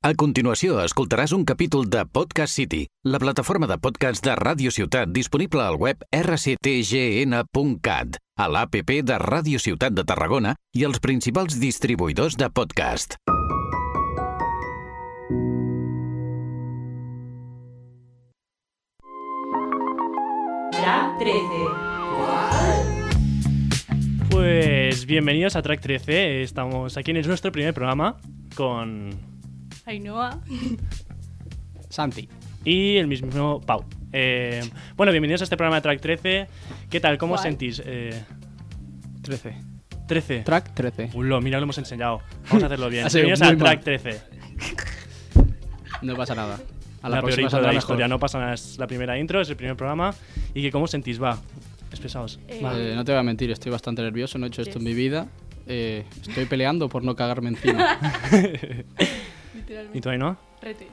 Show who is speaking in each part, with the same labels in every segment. Speaker 1: A continuació escoltaràs un capítol de Podcast City, la plataforma de podcast de Ràdio Ciutat disponible al web rctgn.cat, a l'APP de Ràdio Ciutat de Tarragona i els principals distribuïdors de podcast.
Speaker 2: Track 13.
Speaker 3: Pues bienvenidos a Track 13. Estamos aquí en es nuestro primer programa con.
Speaker 4: Ainhoa.
Speaker 5: Santi.
Speaker 3: y el mismo Pau. Eh, bueno, bienvenidos a este programa de Track 13. ¿Qué tal? ¿Cómo os
Speaker 4: Guay.
Speaker 3: sentís? Eh,
Speaker 5: 13.
Speaker 3: 13.
Speaker 5: Track 13.
Speaker 3: Ulo, mira, lo hemos enseñado. Vamos a hacerlo bien.
Speaker 5: Ha sido
Speaker 3: Bienvenidos
Speaker 5: muy
Speaker 3: a Track
Speaker 5: mal.
Speaker 3: 13.
Speaker 5: No pasa nada. A
Speaker 3: La,
Speaker 5: la,
Speaker 3: peor
Speaker 5: próxima
Speaker 3: intro de la
Speaker 5: saldrá
Speaker 3: historia.
Speaker 5: mejor.
Speaker 3: No pasa nada. Es la primera intro, es el primer programa. ¿Y que cómo os sentís? Va, expresaos.
Speaker 4: Eh,
Speaker 5: Vale, no te voy a mentir, estoy bastante nervioso, no he hecho esto en mi vida. Eh, estoy peleando por no cagarme encima.
Speaker 3: ¿Y
Speaker 4: Literalmente.
Speaker 3: tú ahí no?
Speaker 4: Rete.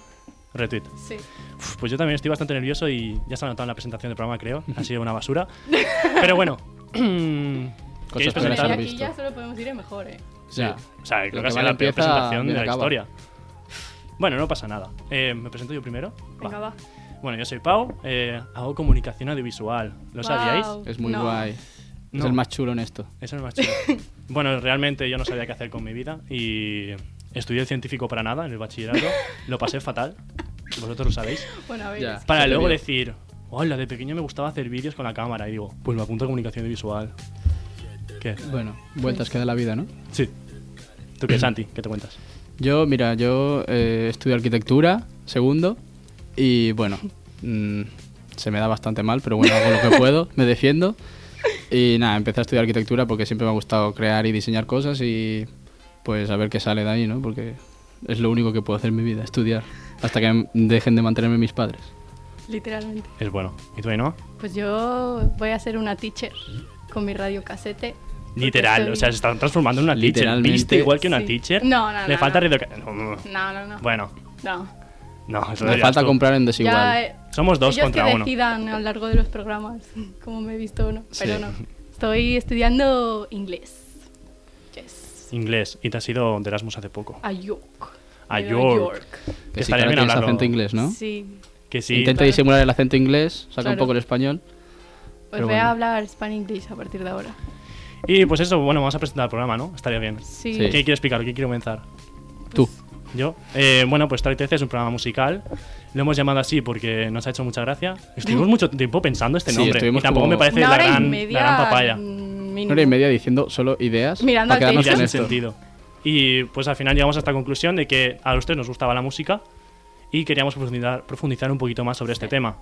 Speaker 3: Retweet.
Speaker 4: Sí.
Speaker 3: Uf, Pues yo también estoy bastante nervioso y ya se ha notado en la presentación del programa, creo. Ha sido una basura. Pero bueno. ¿Queréis
Speaker 5: Cosas
Speaker 4: Pero
Speaker 5: que Pero
Speaker 4: de
Speaker 5: se han
Speaker 3: presentar?
Speaker 4: aquí
Speaker 5: visto.
Speaker 4: ya solo podemos ir en mejor, eh.
Speaker 3: Sí.
Speaker 5: Ya.
Speaker 3: O sea, creo que
Speaker 5: Lo
Speaker 3: ha
Speaker 5: que
Speaker 3: sido
Speaker 5: mal
Speaker 3: la peor
Speaker 5: empieza,
Speaker 3: presentación de
Speaker 5: bien
Speaker 3: la
Speaker 5: acaba.
Speaker 3: historia. Bueno, no pasa nada. Eh, ¿Me presento yo primero?
Speaker 4: Venga, va.
Speaker 3: Bueno, yo soy Pau, eh, hago comunicación audiovisual. ¿Lo sabíais?
Speaker 4: Guau.
Speaker 5: Es muy
Speaker 4: No.
Speaker 5: guay.
Speaker 3: No.
Speaker 5: Es el más chulo en esto.
Speaker 3: Eso es más chido. bueno, realmente yo no sabía qué hacer con mi vida y estudié científico para nada en el bachillerato. lo pasé fatal. Vosotros lo sabéis.
Speaker 4: Bueno, a ver.
Speaker 5: Ya.
Speaker 4: es-
Speaker 3: Para
Speaker 5: Te
Speaker 3: luego
Speaker 5: veo.
Speaker 3: decir, hola, de pequeño me gustaba hacer vídeos con la cámara. Y digo, pues me apunto a comunicación audiovisual. ¿Qué?
Speaker 5: Bueno, vueltas que da la vida, ¿no?
Speaker 3: Sí. ¿Tú qué, Santi? ¿Qué te cuentas?
Speaker 5: Yo, mira, yo eh, estudio arquitectura, segundo, y bueno, mm, se me da bastante mal, pero bueno, hago lo que puedo, me defiendo. Y nada, empecé a estudiar arquitectura porque siempre me ha gustado crear y diseñar cosas y pues a ver qué sale de ahí, ¿no? Porque es lo único que puedo hacer en mi vida, estudiar, hasta que m- dejen de mantenerme mis padres.
Speaker 4: Literalmente.
Speaker 3: Es bueno. ¿Y tú, no?
Speaker 4: Pues yo voy a ser una teacher con mi radiocasete. porque
Speaker 3: Literal,
Speaker 4: soy-
Speaker 3: o sea, se están transformando en una teacher.
Speaker 5: Literalmente.
Speaker 3: ¿Viste igual que una
Speaker 4: Sí.
Speaker 3: teacher?
Speaker 4: No, no,
Speaker 3: Le
Speaker 4: no,
Speaker 3: falta
Speaker 4: no.
Speaker 3: reeduca- no, no, no.
Speaker 4: No, no, no.
Speaker 3: Bueno,
Speaker 4: No.
Speaker 3: no, eso lo
Speaker 5: Me
Speaker 3: dirás
Speaker 5: falta
Speaker 3: tú.
Speaker 5: comprar en desigual.
Speaker 4: Ya, eh,
Speaker 3: Somos dos
Speaker 4: ellos
Speaker 3: contra
Speaker 4: que
Speaker 3: uno.
Speaker 4: decidan a lo largo de los programas cómo me he visto o no.
Speaker 5: Sí.
Speaker 4: Pero no. Estoy estudiando inglés. Yes.
Speaker 3: Inglés, y te has ido de Erasmus hace poco.
Speaker 4: A York.
Speaker 3: A
Speaker 4: Yo
Speaker 3: York.
Speaker 5: que sí,
Speaker 3: estaría
Speaker 5: claro,
Speaker 3: bien
Speaker 5: tienes
Speaker 3: hablarlo.
Speaker 5: acento inglés, ¿no?
Speaker 4: Sí.
Speaker 3: Que sí.
Speaker 5: Intenta
Speaker 4: claro.
Speaker 5: disimular el acento inglés, saca un
Speaker 4: Claro.
Speaker 5: poco el español.
Speaker 4: Pues
Speaker 5: Pero
Speaker 4: voy
Speaker 5: bueno.
Speaker 4: a hablar span English a partir de ahora.
Speaker 3: Y pues eso, bueno, vamos a presentar el programa, ¿no? Estaría bien.
Speaker 4: Sí.
Speaker 5: Sí.
Speaker 3: ¿Qué quiero explicar? ¿Qué quiero comenzar?
Speaker 4: Pues
Speaker 5: Tú.
Speaker 3: Yo. Eh, bueno, pues Track 13 es un programa musical. Lo hemos llamado así porque nos ha hecho mucha gracia. Estuvimos mucho tiempo pensando este
Speaker 5: Sí,
Speaker 3: nombre.
Speaker 5: estuvimos
Speaker 3: y tampoco
Speaker 5: como-
Speaker 3: me parece
Speaker 4: Una
Speaker 3: la
Speaker 4: hora y
Speaker 3: gran,
Speaker 4: media.
Speaker 3: la gran papaya.
Speaker 4: mm,
Speaker 5: Una
Speaker 4: mínimo.
Speaker 5: hora y media diciendo solo ideas
Speaker 4: Mirando
Speaker 5: para
Speaker 4: al
Speaker 5: quedarnos
Speaker 3: Ya
Speaker 4: techo.
Speaker 5: con
Speaker 3: sin
Speaker 5: esto.
Speaker 3: sentido. Y pues al final llegamos a esta conclusión de que a los tres nos gustaba la música y queríamos profundizar, profundizar un poquito más sobre este tema.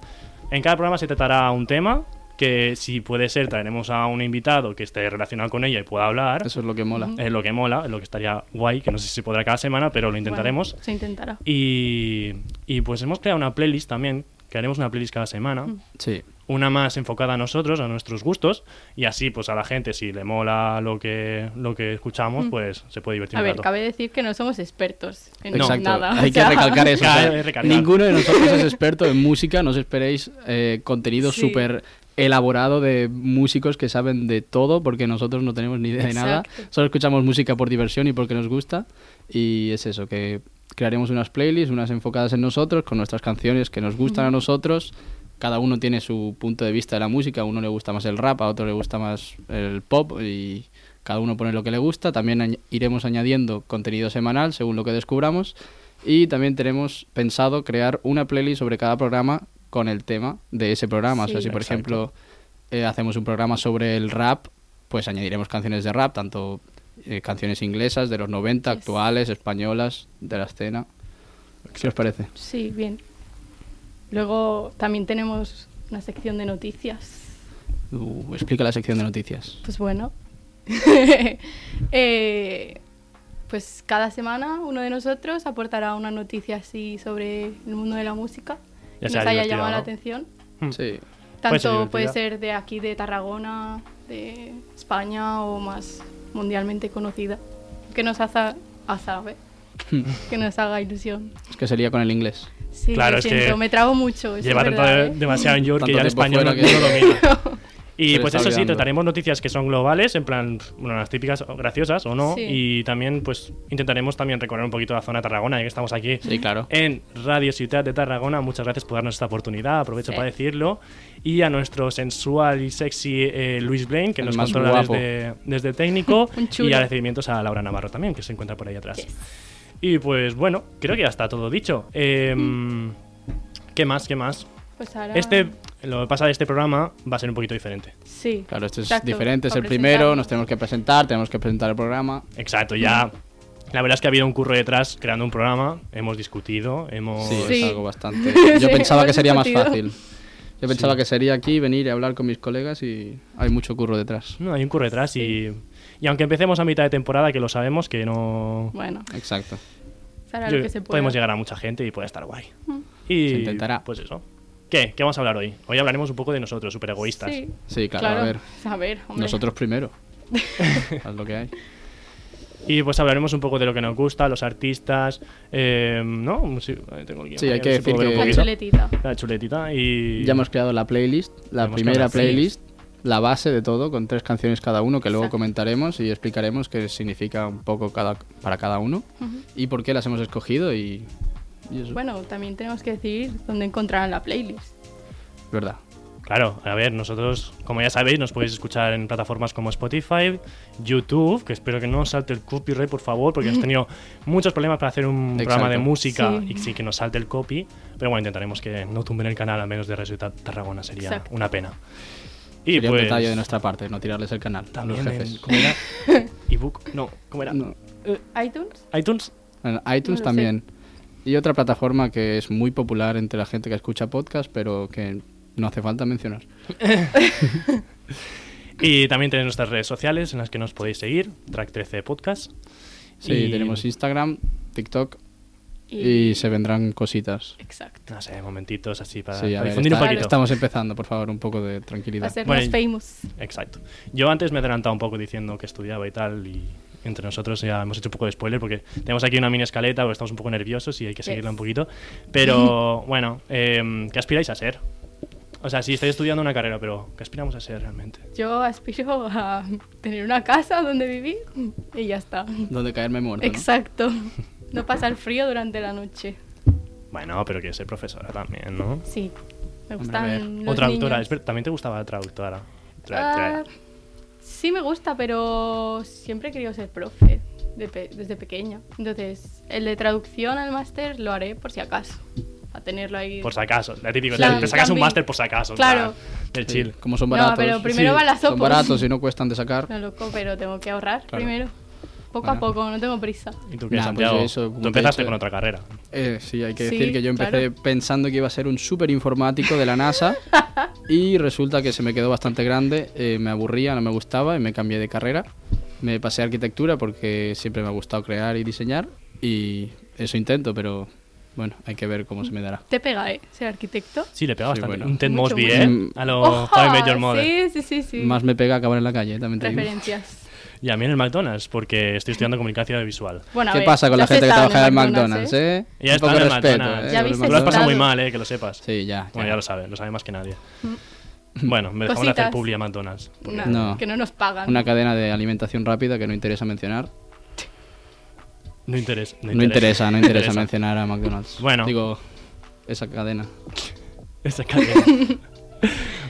Speaker 3: En cada programa se tratará un tema que si puede ser traeremos a un invitado que esté relacionado con ella y pueda hablar.
Speaker 5: Eso es lo que mola.
Speaker 3: Es lo que mola, es lo que estaría guay, que no sé si se podrá cada semana, pero lo intentaremos.
Speaker 4: Bueno, se intentará.
Speaker 3: Y, y, pues hemos creado una playlist también, que haremos una playlist cada semana.
Speaker 5: Sí.
Speaker 3: Una más enfocada a nosotros, a nuestros gustos, y así pues a la gente si le mola lo que lo que escuchamos, pues se puede divertir
Speaker 4: Mm. A
Speaker 3: un
Speaker 4: ver,
Speaker 3: rato.
Speaker 4: cabe decir que no somos expertos en
Speaker 5: Exacto.
Speaker 4: nada.
Speaker 5: Hay
Speaker 4: o
Speaker 5: que
Speaker 4: sea,
Speaker 5: recalcar eso. o sea,
Speaker 3: Cabe recalcar.
Speaker 5: ninguno de nosotros es experto en música. No os esperéis eh, contenido
Speaker 4: Sí.
Speaker 5: súper elaborado de músicos que saben de todo, porque nosotros no tenemos ni idea de nada.
Speaker 4: Exacto.
Speaker 5: Solo escuchamos música por diversión y porque nos gusta. Y es eso, que crearemos unas playlists, unas enfocadas en nosotros, con nuestras canciones que nos gustan a nosotros. Cada uno tiene su punto de vista de la música. A uno le gusta más el rap, a otro le gusta más el pop y cada uno pone lo que le gusta. También añ- iremos añadiendo contenido semanal según lo que descubramos. Y también tenemos pensado crear una playlist sobre cada programa con el tema de ese programa. o sea,
Speaker 4: Sí.
Speaker 5: si por
Speaker 3: Exacto.
Speaker 5: ejemplo eh, hacemos un programa sobre el rap, pues añadiremos canciones de rap, tanto eh, canciones inglesas de los 90,
Speaker 4: Yes.
Speaker 5: actuales, españolas, de la escena. ¿Qué os parece?
Speaker 4: Sí, bien. Luego también tenemos una sección de noticias.
Speaker 5: Uh, explica la sección de noticias.
Speaker 4: Pues bueno. Eh, pues cada semana uno de nosotros aportará una noticia así sobre el mundo de la música
Speaker 3: Ya
Speaker 4: que
Speaker 3: sea
Speaker 4: nos haya
Speaker 3: divertida,
Speaker 4: llamado la
Speaker 3: ¿no?
Speaker 4: atención.
Speaker 3: Mm.
Speaker 5: Sí.
Speaker 3: Puede ser
Speaker 4: Tanto puede
Speaker 3: divertida.
Speaker 4: ser de aquí, de Tarragona, de España o más mundialmente conocida. Que nos haga, haza, ¿eh? que nos haga ilusión.
Speaker 5: Es que sería con el inglés.
Speaker 4: Sí,
Speaker 3: Claro,
Speaker 4: lo
Speaker 3: es
Speaker 4: siento,
Speaker 3: que
Speaker 4: me trago mucho. eso
Speaker 3: Lleva
Speaker 4: es
Speaker 3: tanto
Speaker 4: verdad,
Speaker 3: de-
Speaker 4: ¿eh?
Speaker 3: demasiado en York que
Speaker 5: Tanto
Speaker 3: ya el
Speaker 5: tiempo
Speaker 3: español no,
Speaker 5: fuera que-
Speaker 3: no domina. Y
Speaker 5: Se le
Speaker 3: pues
Speaker 5: está
Speaker 3: eso sí,
Speaker 5: olvidando.
Speaker 3: trataremos noticias que son globales, en plan, bueno, las típicas o graciosas o no.
Speaker 4: Sí.
Speaker 3: Y también, pues, intentaremos también recorrer un poquito la zona de Tarragona, ya que estamos aquí
Speaker 5: Sí, claro.
Speaker 3: en Radio Ciudad de Tarragona. Muchas gracias por darnos esta oportunidad, aprovecho
Speaker 4: Sí.
Speaker 3: para decirlo. Y a nuestro sensual y sexy eh, Luis Blaine, que
Speaker 5: El
Speaker 3: nos
Speaker 5: más
Speaker 3: controla
Speaker 5: guapo.
Speaker 3: desde, desde técnico.
Speaker 4: Un chulo.
Speaker 3: y agradecimientos a Laura Navarro también, que se encuentra por ahí atrás. Y pues bueno, creo que ya está todo dicho. Em, ¿Qué más? ¿Qué más?
Speaker 4: Pues ahora...
Speaker 3: Este, lo que pasa de este programa va a ser un poquito diferente.
Speaker 4: Sí.
Speaker 5: Claro, esto es
Speaker 4: exacto,
Speaker 5: diferente, es
Speaker 4: pa'
Speaker 5: el primero,
Speaker 4: presentarlo.
Speaker 5: nos tenemos que presentar, tenemos que presentar el programa.
Speaker 3: Exacto, ya. La verdad es que ha habido un curro detrás creando un programa. Hemos discutido, hemos.
Speaker 5: Sí,
Speaker 4: Sí.
Speaker 5: Oh, es algo bastante.
Speaker 4: Sí,
Speaker 5: Yo pensaba que
Speaker 4: hemos
Speaker 5: sería más
Speaker 4: discutido.
Speaker 5: fácil. Yo pensaba que sería aquí venir y hablar con mis colegas y hay mucho curro detrás.
Speaker 3: No, hay un curro detrás y. Y aunque empecemos a mitad de temporada, que lo sabemos, que no.
Speaker 4: Bueno,
Speaker 5: Exacto.
Speaker 4: será
Speaker 3: yo-
Speaker 4: lo que se pueda.
Speaker 3: podemos llegar a mucha gente y puede estar guay. Y.
Speaker 5: Se intentará.
Speaker 3: Pues eso. ¿Qué? ¿Qué vamos a hablar hoy? Hoy hablaremos un poco de nosotros, super egoístas.
Speaker 4: Sí,
Speaker 5: Sí, claro, a ver.
Speaker 4: A ver, hombre.
Speaker 5: Nosotros primero. es lo que hay.
Speaker 3: Y pues hablaremos un poco de lo que nos gusta, los artistas. eh, ¿No? Sí, ahí tengo el guión.
Speaker 5: Sí, hay
Speaker 3: A ver
Speaker 5: que
Speaker 3: si puedo ver un
Speaker 4: La
Speaker 5: decir que-
Speaker 3: poquito.
Speaker 4: chuletita.
Speaker 3: La chuletita y.
Speaker 5: Ya hemos creado la playlist, la
Speaker 3: Hemos
Speaker 5: primera
Speaker 3: creado la playlist.
Speaker 5: playlist, la base de todo, con tres canciones cada uno, que luego
Speaker 4: Exacto.
Speaker 5: comentaremos y explicaremos qué significa un poco cada, para cada uno y por qué las hemos escogido y, y eso.
Speaker 4: Bueno, también tenemos que decir dónde encontrarán la playlist.
Speaker 5: Es verdad.
Speaker 3: Claro, a ver, nosotros, como ya sabéis, nos podéis escuchar en plataformas como Spotify, YouTube, que espero que no os salte el copyright, por favor, porque hemos tenido muchos problemas para hacer un
Speaker 5: Exacto.
Speaker 3: programa de música
Speaker 4: Sí.
Speaker 3: y sí que nos salte el copy, pero bueno, intentaremos que no tumben el canal, al menos de Resulta Tarragona, sería
Speaker 4: Exacto.
Speaker 3: una pena. Y
Speaker 5: sería
Speaker 3: pues,
Speaker 5: un detalle de nuestra parte, no tirarles el canal.
Speaker 3: también
Speaker 5: los
Speaker 3: en-
Speaker 5: jefes.
Speaker 3: ¿cómo era? ¿Ebook? No, ¿cómo era?
Speaker 5: No.
Speaker 4: ¿iTunes?
Speaker 3: ¿iTunes?
Speaker 5: En
Speaker 4: No lo
Speaker 5: iTunes
Speaker 4: sé.
Speaker 5: también. Y otra plataforma que es muy popular entre la gente que escucha podcast, pero que no hace falta mencionar.
Speaker 3: Y también tenéis nuestras redes sociales en las que nos podéis seguir, Track 13 Podcast.
Speaker 5: Sí,
Speaker 3: Y-
Speaker 5: tenemos Instagram, TikTok
Speaker 4: Y...
Speaker 5: y, se vendrán cositas.
Speaker 4: Exacto.
Speaker 3: No sé, momentitos así para,
Speaker 5: Sí, a
Speaker 3: para
Speaker 5: ver,
Speaker 3: difundir
Speaker 5: está-
Speaker 3: un poquito.
Speaker 5: Estamos empezando, por favor, un poco de
Speaker 4: Va a
Speaker 5: tranquilidad.
Speaker 4: ser
Speaker 3: Bueno,
Speaker 4: más
Speaker 3: y-
Speaker 4: famous.
Speaker 3: Exacto. Yo antes me he adelantado un poco diciendo que estudiaba y tal, y entre nosotros ya hemos hecho un poco de spoiler porque tenemos aquí una mini escaleta, porque estamos un poco nerviosos y hay que
Speaker 4: Yes.
Speaker 3: seguirla un poquito. Pero bueno, em, ¿qué aspiráis a ser? O sea, sí, estáis estudiando una carrera, pero ¿qué aspiramos a ser realmente?
Speaker 4: Yo aspiro a tener una casa donde vivir y ya está.
Speaker 5: Donde caerme muerto. ¿no?
Speaker 4: Exacto. No pasar frío durante la noche.
Speaker 3: Bueno, pero que ser profesora también, ¿no?
Speaker 4: Sí. Me
Speaker 5: Hombre, a ver.
Speaker 4: gustan Mm, los
Speaker 3: o traductora,
Speaker 4: niños.
Speaker 3: espera, también te gustaba la traductora. Tra- tra-
Speaker 4: Ah, sí me gusta, pero siempre he querido ser profe de pe- desde pequeña. Entonces, el de traducción al máster lo haré por si acaso. A tenerlo ahí.
Speaker 3: Por si acaso, la típica,
Speaker 5: Plan-
Speaker 3: te- te sacas un
Speaker 4: plan B.
Speaker 3: máster por si acaso. en
Speaker 4: Claro.
Speaker 3: plan, Del
Speaker 5: Sí,
Speaker 3: chill.
Speaker 5: Como son
Speaker 4: No,
Speaker 5: baratos.
Speaker 4: pero primero van las
Speaker 5: Son
Speaker 4: sopos.
Speaker 5: baratos y no cuestan de sacar.
Speaker 4: No, loco, pero tengo que ahorrar
Speaker 5: Claro.
Speaker 4: primero. Poco a
Speaker 5: Bueno.
Speaker 4: poco, no tengo prisa.
Speaker 3: ¿Y tú qué,
Speaker 5: Nah, pues
Speaker 3: Santiago?
Speaker 5: yo eso, como
Speaker 3: tú
Speaker 5: te he
Speaker 3: empezaste
Speaker 5: dicho-
Speaker 3: con otra carrera.
Speaker 5: Eh, sí, hay que
Speaker 4: Sí,
Speaker 5: decir que yo empecé pensando que iba a ser un súper informático de la NASA y resulta que se me quedó bastante grande, eh, me aburría, no me gustaba y me cambié de carrera. Me pasé a arquitectura porque siempre me ha gustado crear y diseñar y eso intento, pero bueno, hay que ver cómo se me dará.
Speaker 4: Te pega, ¿eh? Ser arquitecto.
Speaker 3: Sí, le pegaba
Speaker 5: Sí,
Speaker 3: bastante.
Speaker 5: bueno.
Speaker 3: Un Ted
Speaker 4: Mucho,
Speaker 3: Mosby,
Speaker 4: mucho.
Speaker 5: Mm.
Speaker 3: ¿eh? A lo How I Met Your Mother.
Speaker 4: Sí, sí, sí, sí.
Speaker 5: Más me pega acabar en la calle, también te digo.
Speaker 4: referencias.
Speaker 3: Y a mí en el McDonald's, porque estoy estudiando comunicación visual.
Speaker 4: Bueno, a
Speaker 5: ¿Qué
Speaker 4: ver,
Speaker 5: pasa con la
Speaker 4: las he
Speaker 5: gente que
Speaker 4: estado
Speaker 5: trabaja en el McDonald's,
Speaker 4: ¿eh?
Speaker 5: eh?
Speaker 3: Y Ya
Speaker 5: Un
Speaker 3: está
Speaker 5: poco
Speaker 3: en
Speaker 5: de
Speaker 3: el
Speaker 5: respeto,
Speaker 3: McDonald's.
Speaker 5: eh,
Speaker 4: Ya
Speaker 5: con el
Speaker 4: habéis
Speaker 3: Tú lo has pasado
Speaker 4: estado.
Speaker 3: muy mal, ¿eh? Que lo sepas.
Speaker 5: Sí, Mm. ya.
Speaker 3: Bueno,
Speaker 5: ya.
Speaker 3: ya lo sabes, lo sabe más que nadie. Bueno, me dejamos de
Speaker 4: Cositas.
Speaker 3: hacer publi a McDonald's. porque-
Speaker 4: ¿eh? No,
Speaker 5: No.
Speaker 4: Que no nos pagan.
Speaker 5: Una cadena de alimentación rápida que no interesa mencionar.
Speaker 3: No interesa.
Speaker 5: No interesa, no interesa mencionar a McDonald's.
Speaker 3: Bueno.
Speaker 5: Digo, esa cadena.
Speaker 3: Esa cadena.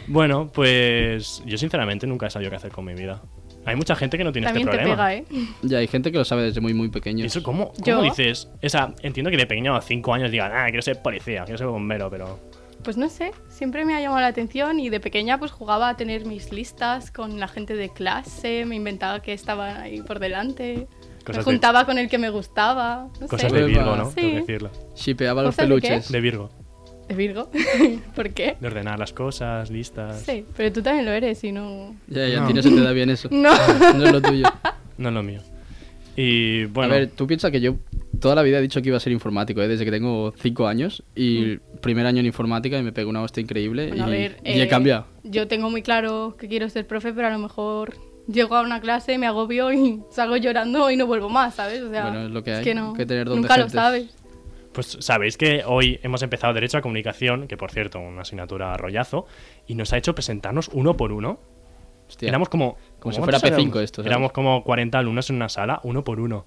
Speaker 3: bueno, pues yo sinceramente nunca he sabido qué hacer con mi vida. Hay mucha gente que no tiene
Speaker 4: También
Speaker 3: este
Speaker 4: te
Speaker 3: problema.
Speaker 4: pega, ¿eh?
Speaker 5: Ya hay gente que lo sabe desde muy, muy pequeño.
Speaker 3: ¿Y eso cómo, cómo
Speaker 4: Yo-
Speaker 3: dices? O sea, entiendo que de pequeño a 5 años digan, ah, quiero ser policía, quiero ser bombero, pero.
Speaker 4: Pues no sé, siempre me ha llamado la atención y de pequeña pues jugaba a tener mis listas con la gente de clase, me inventaba que estaban ahí por delante,
Speaker 3: Cosas de-
Speaker 4: me juntaba con el que me gustaba, no
Speaker 3: Cosas
Speaker 4: sé.
Speaker 3: de
Speaker 5: Pues
Speaker 3: Virgo,
Speaker 5: va.
Speaker 3: ¿no?
Speaker 4: Sí.
Speaker 3: Tengo que decirlo.
Speaker 5: Shipeaba los
Speaker 4: ¿Cosas de qué?
Speaker 5: peluches.
Speaker 3: De Virgo.
Speaker 4: ¿De Virgo? ¿Por qué?
Speaker 3: De ordenar las cosas, listas.
Speaker 4: Sí, pero tú también lo eres y no...
Speaker 5: Ya, ya,
Speaker 3: No.
Speaker 5: a ti no se te da bien
Speaker 3: Ah.
Speaker 5: eso.
Speaker 4: No.
Speaker 5: No es lo tuyo.
Speaker 3: No es lo mío. Y bueno.
Speaker 5: A ver, tú piensas que yo toda la vida he dicho que iba a ser informático, ¿eh? desde que tengo 5 años. Y primer año en informática y me pegó una hostia increíble.
Speaker 4: Mm. Bueno,
Speaker 5: y,
Speaker 4: a ver,
Speaker 5: y he
Speaker 4: eh,
Speaker 5: cambiado.
Speaker 4: Yo tengo muy claro que quiero ser profe, pero a lo mejor llego a una clase, me agobio y salgo llorando y no vuelvo más, ¿sabes? O sea,
Speaker 5: Bueno, es lo que hay,
Speaker 4: que no,
Speaker 5: que tener don de
Speaker 4: nunca lo
Speaker 5: gentes.
Speaker 4: sabes.
Speaker 3: Pues sabéis que hoy hemos empezado Derecho a Comunicación, que por cierto, una asignatura rollazo, y nos ha hecho presentarnos uno por uno
Speaker 5: Hostia.
Speaker 3: Éramos como.
Speaker 5: Como si
Speaker 3: ¿cómo
Speaker 5: fuera
Speaker 3: te sale?
Speaker 5: P5 esto, ¿sabes?
Speaker 3: Éramos como 40 alumnos en una sala, uno por uno.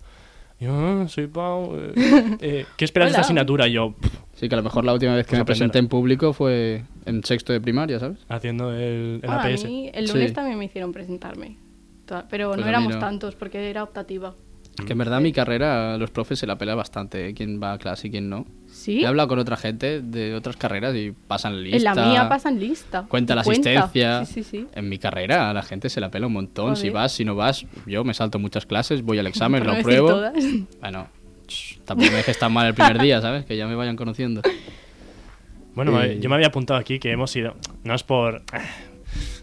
Speaker 3: Yo, "Ah, soy Pau. eh, eh, ¿Qué esperas de esta
Speaker 4: Hola.
Speaker 3: asignatura? Y Yo, "Pff,
Speaker 5: Sí, que a lo mejor la última vez que
Speaker 3: Pues
Speaker 5: me
Speaker 3: aprender.
Speaker 5: presenté en público fue en sexto de primaria, ¿sabes?
Speaker 3: haciendo el, el
Speaker 4: Bueno, Ah, a
Speaker 3: APS.
Speaker 4: mí el lunes
Speaker 5: Sí.
Speaker 4: también me hicieron presentarme. Toda- Pero
Speaker 5: Pues a
Speaker 4: no
Speaker 5: mí
Speaker 4: éramos
Speaker 5: no.
Speaker 4: tantos porque era optativa.
Speaker 3: Mm.
Speaker 5: Que en verdad mi carrera, a los profes se la pela bastante, ¿eh? quién va a clase y quién no.
Speaker 4: ¿Sí?
Speaker 5: He hablado con otra gente de otras carreras y pasan lista.
Speaker 4: En la mía pasan lista.
Speaker 5: Cuenta la asistencia.
Speaker 4: Sí, sí, sí.
Speaker 5: En mi carrera a la gente se la pela un montón. Si
Speaker 4: Joder.
Speaker 5: vas, si no vas, yo me salto muchas clases, voy al examen,
Speaker 4: Por no
Speaker 5: lo
Speaker 4: decir
Speaker 5: pruebo.
Speaker 4: todas.
Speaker 3: Pues
Speaker 5: Bueno, shh, tampoco me dejes tan mal el primer día, ¿sabes? Que ya me vayan conociendo.
Speaker 3: Bueno,
Speaker 5: Eh,
Speaker 3: eh, yo me había apuntado aquí que hemos ido, no es por ah,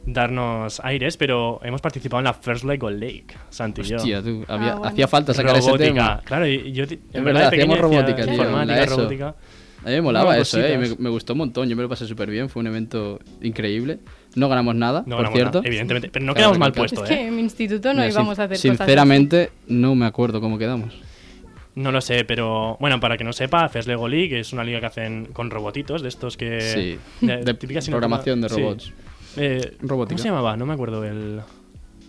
Speaker 3: darnos aires, pero hemos participado en la First Lego Lake, Santi y yo.
Speaker 5: Hostia, tú, había-
Speaker 4: Ah, bueno.
Speaker 5: hacía falta sacar ese tema.
Speaker 3: robótica, claro, y yo ti- en
Speaker 5: verdad,
Speaker 3: verdad, de pequeño
Speaker 5: hacíamos
Speaker 3: decía
Speaker 5: robótica, tío, en la
Speaker 3: informática,
Speaker 5: ESO.
Speaker 3: robótica.
Speaker 5: A mí me molaba
Speaker 3: Bueno,
Speaker 5: eso, ¿eh? Y me,
Speaker 3: cositas.
Speaker 5: me gustó un montón, yo me lo pasé súper bien, fue un evento increíble. No ganamos nada,
Speaker 3: No,
Speaker 5: por
Speaker 3: ganamos
Speaker 5: cierto.
Speaker 3: nada, evidentemente, pero no
Speaker 5: Claro,
Speaker 3: quedamos mal
Speaker 5: recalcar.
Speaker 4: Es
Speaker 3: puestos,
Speaker 4: que
Speaker 3: ¿eh?
Speaker 4: en mi instituto no
Speaker 5: Mira, sin-
Speaker 4: íbamos a hacer cosas.
Speaker 5: Sinceramente, no me acuerdo cómo quedamos.
Speaker 3: No lo sé, pero bueno, para que no sepa, First Lego League es una liga que hacen con robotitos de estos que
Speaker 5: Sí,
Speaker 3: de-
Speaker 5: de
Speaker 3: Eh, típica asignatura-
Speaker 5: programación de
Speaker 3: sí.
Speaker 5: robots.
Speaker 3: Eh,
Speaker 5: Robótica.
Speaker 3: ¿Cómo se llamaba? No me acuerdo el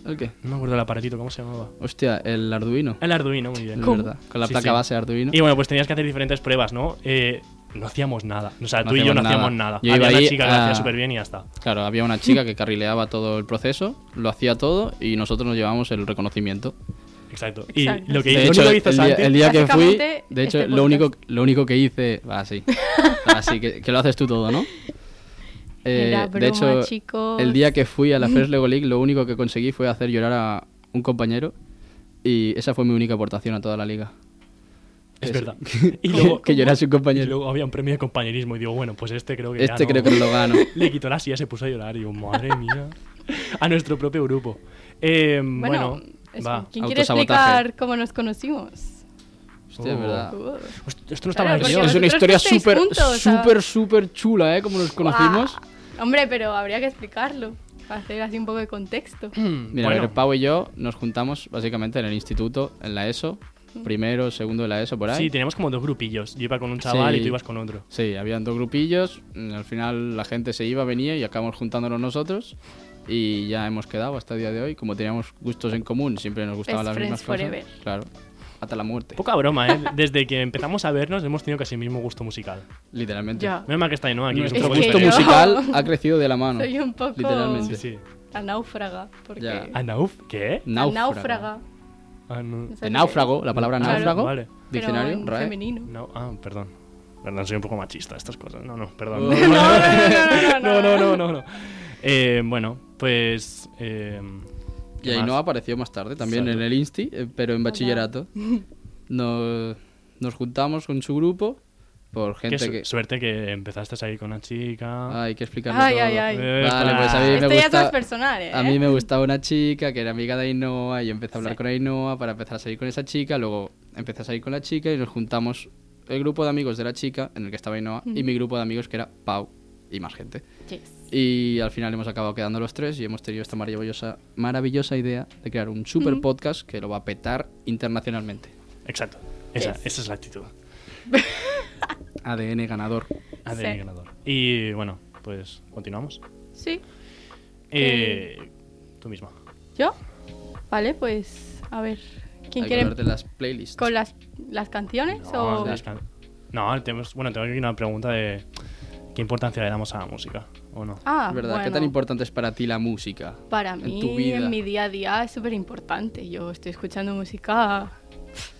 Speaker 5: ¿El qué?
Speaker 3: no me acuerdo el aparatito, ¿cómo se llamaba?
Speaker 5: Hostia, el Arduino.
Speaker 3: El Arduino, muy
Speaker 5: Es
Speaker 3: bien.
Speaker 5: verdad, con la
Speaker 3: Sí,
Speaker 5: placa
Speaker 3: sí.
Speaker 5: base Arduino.
Speaker 3: Y bueno, pues tenías que hacer diferentes pruebas, ¿no? Eh, no hacíamos nada. O sea,
Speaker 5: No
Speaker 3: tú y yo no
Speaker 5: hacíamos
Speaker 3: hacíamos
Speaker 5: nada.
Speaker 3: nada.
Speaker 5: Yo
Speaker 3: Había
Speaker 5: iba
Speaker 3: una
Speaker 5: ahí
Speaker 3: chica que lo
Speaker 5: a-
Speaker 3: hacía súper bien y ya está.
Speaker 5: Claro, había una chica que carrileaba todo el proceso, lo hacía todo y nosotros nos llevábamos el reconocimiento.
Speaker 3: Exacto.
Speaker 4: Exacto.
Speaker 3: Y lo que
Speaker 5: De
Speaker 3: hizo,
Speaker 5: hecho,
Speaker 3: lo
Speaker 5: el
Speaker 3: que hizo
Speaker 5: día,
Speaker 3: Santi.
Speaker 5: el día que fui,
Speaker 4: Básicamente,
Speaker 5: de hecho,
Speaker 4: este
Speaker 5: lo, único,
Speaker 4: podcast.
Speaker 5: lo único que hice... Así, así que, que lo haces tú todo, ¿no? Eh,
Speaker 4: Era
Speaker 5: de
Speaker 4: broma,
Speaker 5: hecho,
Speaker 4: chicos.
Speaker 5: el día que fui a la First Lego League, lo único que conseguí fue hacer llorar a un compañero y esa fue mi única aportación a toda la liga.
Speaker 3: Es
Speaker 5: Eso.
Speaker 3: verdad.
Speaker 5: Que- que llorase un
Speaker 3: y
Speaker 5: compañero.
Speaker 3: luego había un premio de compañerismo y digo, bueno, pues este creo que ya
Speaker 5: Este
Speaker 3: no-
Speaker 5: creo que no lo gano.
Speaker 3: Le quitó la silla, se puso a llorar y digo, madre mía. A nuestro propio grupo. Eh, bueno,
Speaker 4: Bueno, es-
Speaker 3: va.
Speaker 4: ¿quién quiere
Speaker 5: autosabotaje. Ah.
Speaker 4: explicar cómo nos conocimos?
Speaker 5: Hostia, es
Speaker 3: Oh.
Speaker 5: verdad.
Speaker 4: Uh.
Speaker 3: Host- Esto no estaba
Speaker 4: Claro,
Speaker 3: en el
Speaker 4: porque
Speaker 3: guión.
Speaker 5: es una
Speaker 4: vosotros
Speaker 5: historia
Speaker 4: fuisteis
Speaker 5: súper,
Speaker 4: juntos, o sea.
Speaker 5: súper, súper chula, ¿eh? Como nos conocimos.
Speaker 4: Guau. Hombre, pero habría que explicarlo. Para hacer así un poco de contexto.
Speaker 5: Mira,
Speaker 3: Bueno.
Speaker 5: a ver, Pau y yo nos juntamos básicamente en el instituto, en la ESO.
Speaker 4: Mm.
Speaker 5: Primero, segundo de la ESO, por ahí.
Speaker 3: Sí, teníamos como dos grupillos. Yo iba con un chaval
Speaker 5: Sí.
Speaker 3: y tú ibas con otro.
Speaker 5: Sí, habían dos grupillos. mm, Al final la gente se iba, venía y acabamos juntándonos nosotros. Y ya hemos quedado hasta el día de hoy. Como teníamos gustos en común, siempre nos gustaban
Speaker 4: Best
Speaker 5: las mismas
Speaker 4: friends forever.
Speaker 5: cosas. Claro, hasta la muerte.
Speaker 3: Poca broma, ¿eh? Desde que empezamos a vernos hemos tenido casi el mismo gusto musical.
Speaker 5: Literalmente.
Speaker 4: Ya.
Speaker 3: Menos mal que está ahí, ¿no? Aquí es un
Speaker 5: Nuestro
Speaker 3: poco
Speaker 4: Es que
Speaker 5: gusto
Speaker 4: yo-
Speaker 3: diferente.
Speaker 5: musical ha crecido de la mano.
Speaker 4: Soy un poco-
Speaker 5: Literalmente.
Speaker 3: Sí, sí.
Speaker 4: La náufraga. Porque
Speaker 5: Ya. Ah,
Speaker 4: la
Speaker 3: ¿Anauf? ¿Qué?
Speaker 5: Náufraga.
Speaker 3: Ah, no.
Speaker 4: sé
Speaker 5: De
Speaker 4: qué-
Speaker 5: náufrago, la palabra
Speaker 4: Claro.
Speaker 5: náufrago.
Speaker 3: Vale.
Speaker 4: pero
Speaker 5: Diccionario,
Speaker 4: en
Speaker 5: RAE.
Speaker 4: femenino.
Speaker 3: No, ah, perdón. Perdón, soy un poco machista, estas cosas. No, no, perdón.
Speaker 5: Oh.
Speaker 3: No,
Speaker 4: no,
Speaker 3: no, no, no, no. no. Eh, bueno, pues. eh,
Speaker 5: Y
Speaker 3: ¿qué más?
Speaker 5: ahí no apareció más tarde, también
Speaker 3: Exacto.
Speaker 5: en el Insti, eh, pero en bachillerato. Nos, nos juntamos con su grupo por
Speaker 3: Qué
Speaker 5: gente
Speaker 3: su-
Speaker 5: que...
Speaker 3: Suerte que empezaste a salir con una chica.
Speaker 5: Ay, hay que explicarlo
Speaker 4: Ay,
Speaker 5: todo.
Speaker 4: ay, ay.
Speaker 3: Eh,
Speaker 5: Vale, pues a mí me
Speaker 4: Esto ya todo
Speaker 5: gusta-
Speaker 4: es personal, ¿eh?
Speaker 5: A mí me gustaba una chica que era amiga de Ainhoa y empecé a hablar con Ainhoa para empezar a salir con esa chica. Luego empecé a salir con la chica y nos juntamos el grupo de amigos de la chica, en el que estaba Ainhoa, y mi grupo de amigos que era Pau y más gente.
Speaker 4: Yes.
Speaker 5: Y al final hemos acabado quedando los tres y hemos tenido esta maravillosa, maravillosa idea de crear un super podcast que lo va a petar internacionalmente.
Speaker 3: Exacto. Esa,
Speaker 4: Yes.
Speaker 3: esa es la actitud.
Speaker 5: ADN ganador.
Speaker 3: ADN
Speaker 4: Sí.
Speaker 3: ganador. Y bueno, pues continuamos.
Speaker 4: Sí.
Speaker 3: Eh, tú misma.
Speaker 4: ¿Yo? Vale, pues a ver. ¿Quién
Speaker 5: Hay que
Speaker 4: quiere
Speaker 5: hablar de las playlists.
Speaker 4: con las, las canciones
Speaker 3: No,
Speaker 4: o
Speaker 3: las can- no, tenemos- bueno, tengo aquí una pregunta de qué importancia le damos a la música, ¿o no?
Speaker 4: Ah,
Speaker 5: Es ¿Verdad? ¿Qué
Speaker 4: bueno,
Speaker 5: tan importante es para ti la música?
Speaker 4: Para
Speaker 5: en
Speaker 4: mí,
Speaker 5: tu vida?
Speaker 4: en mi día a día es súper importante. Yo estoy escuchando música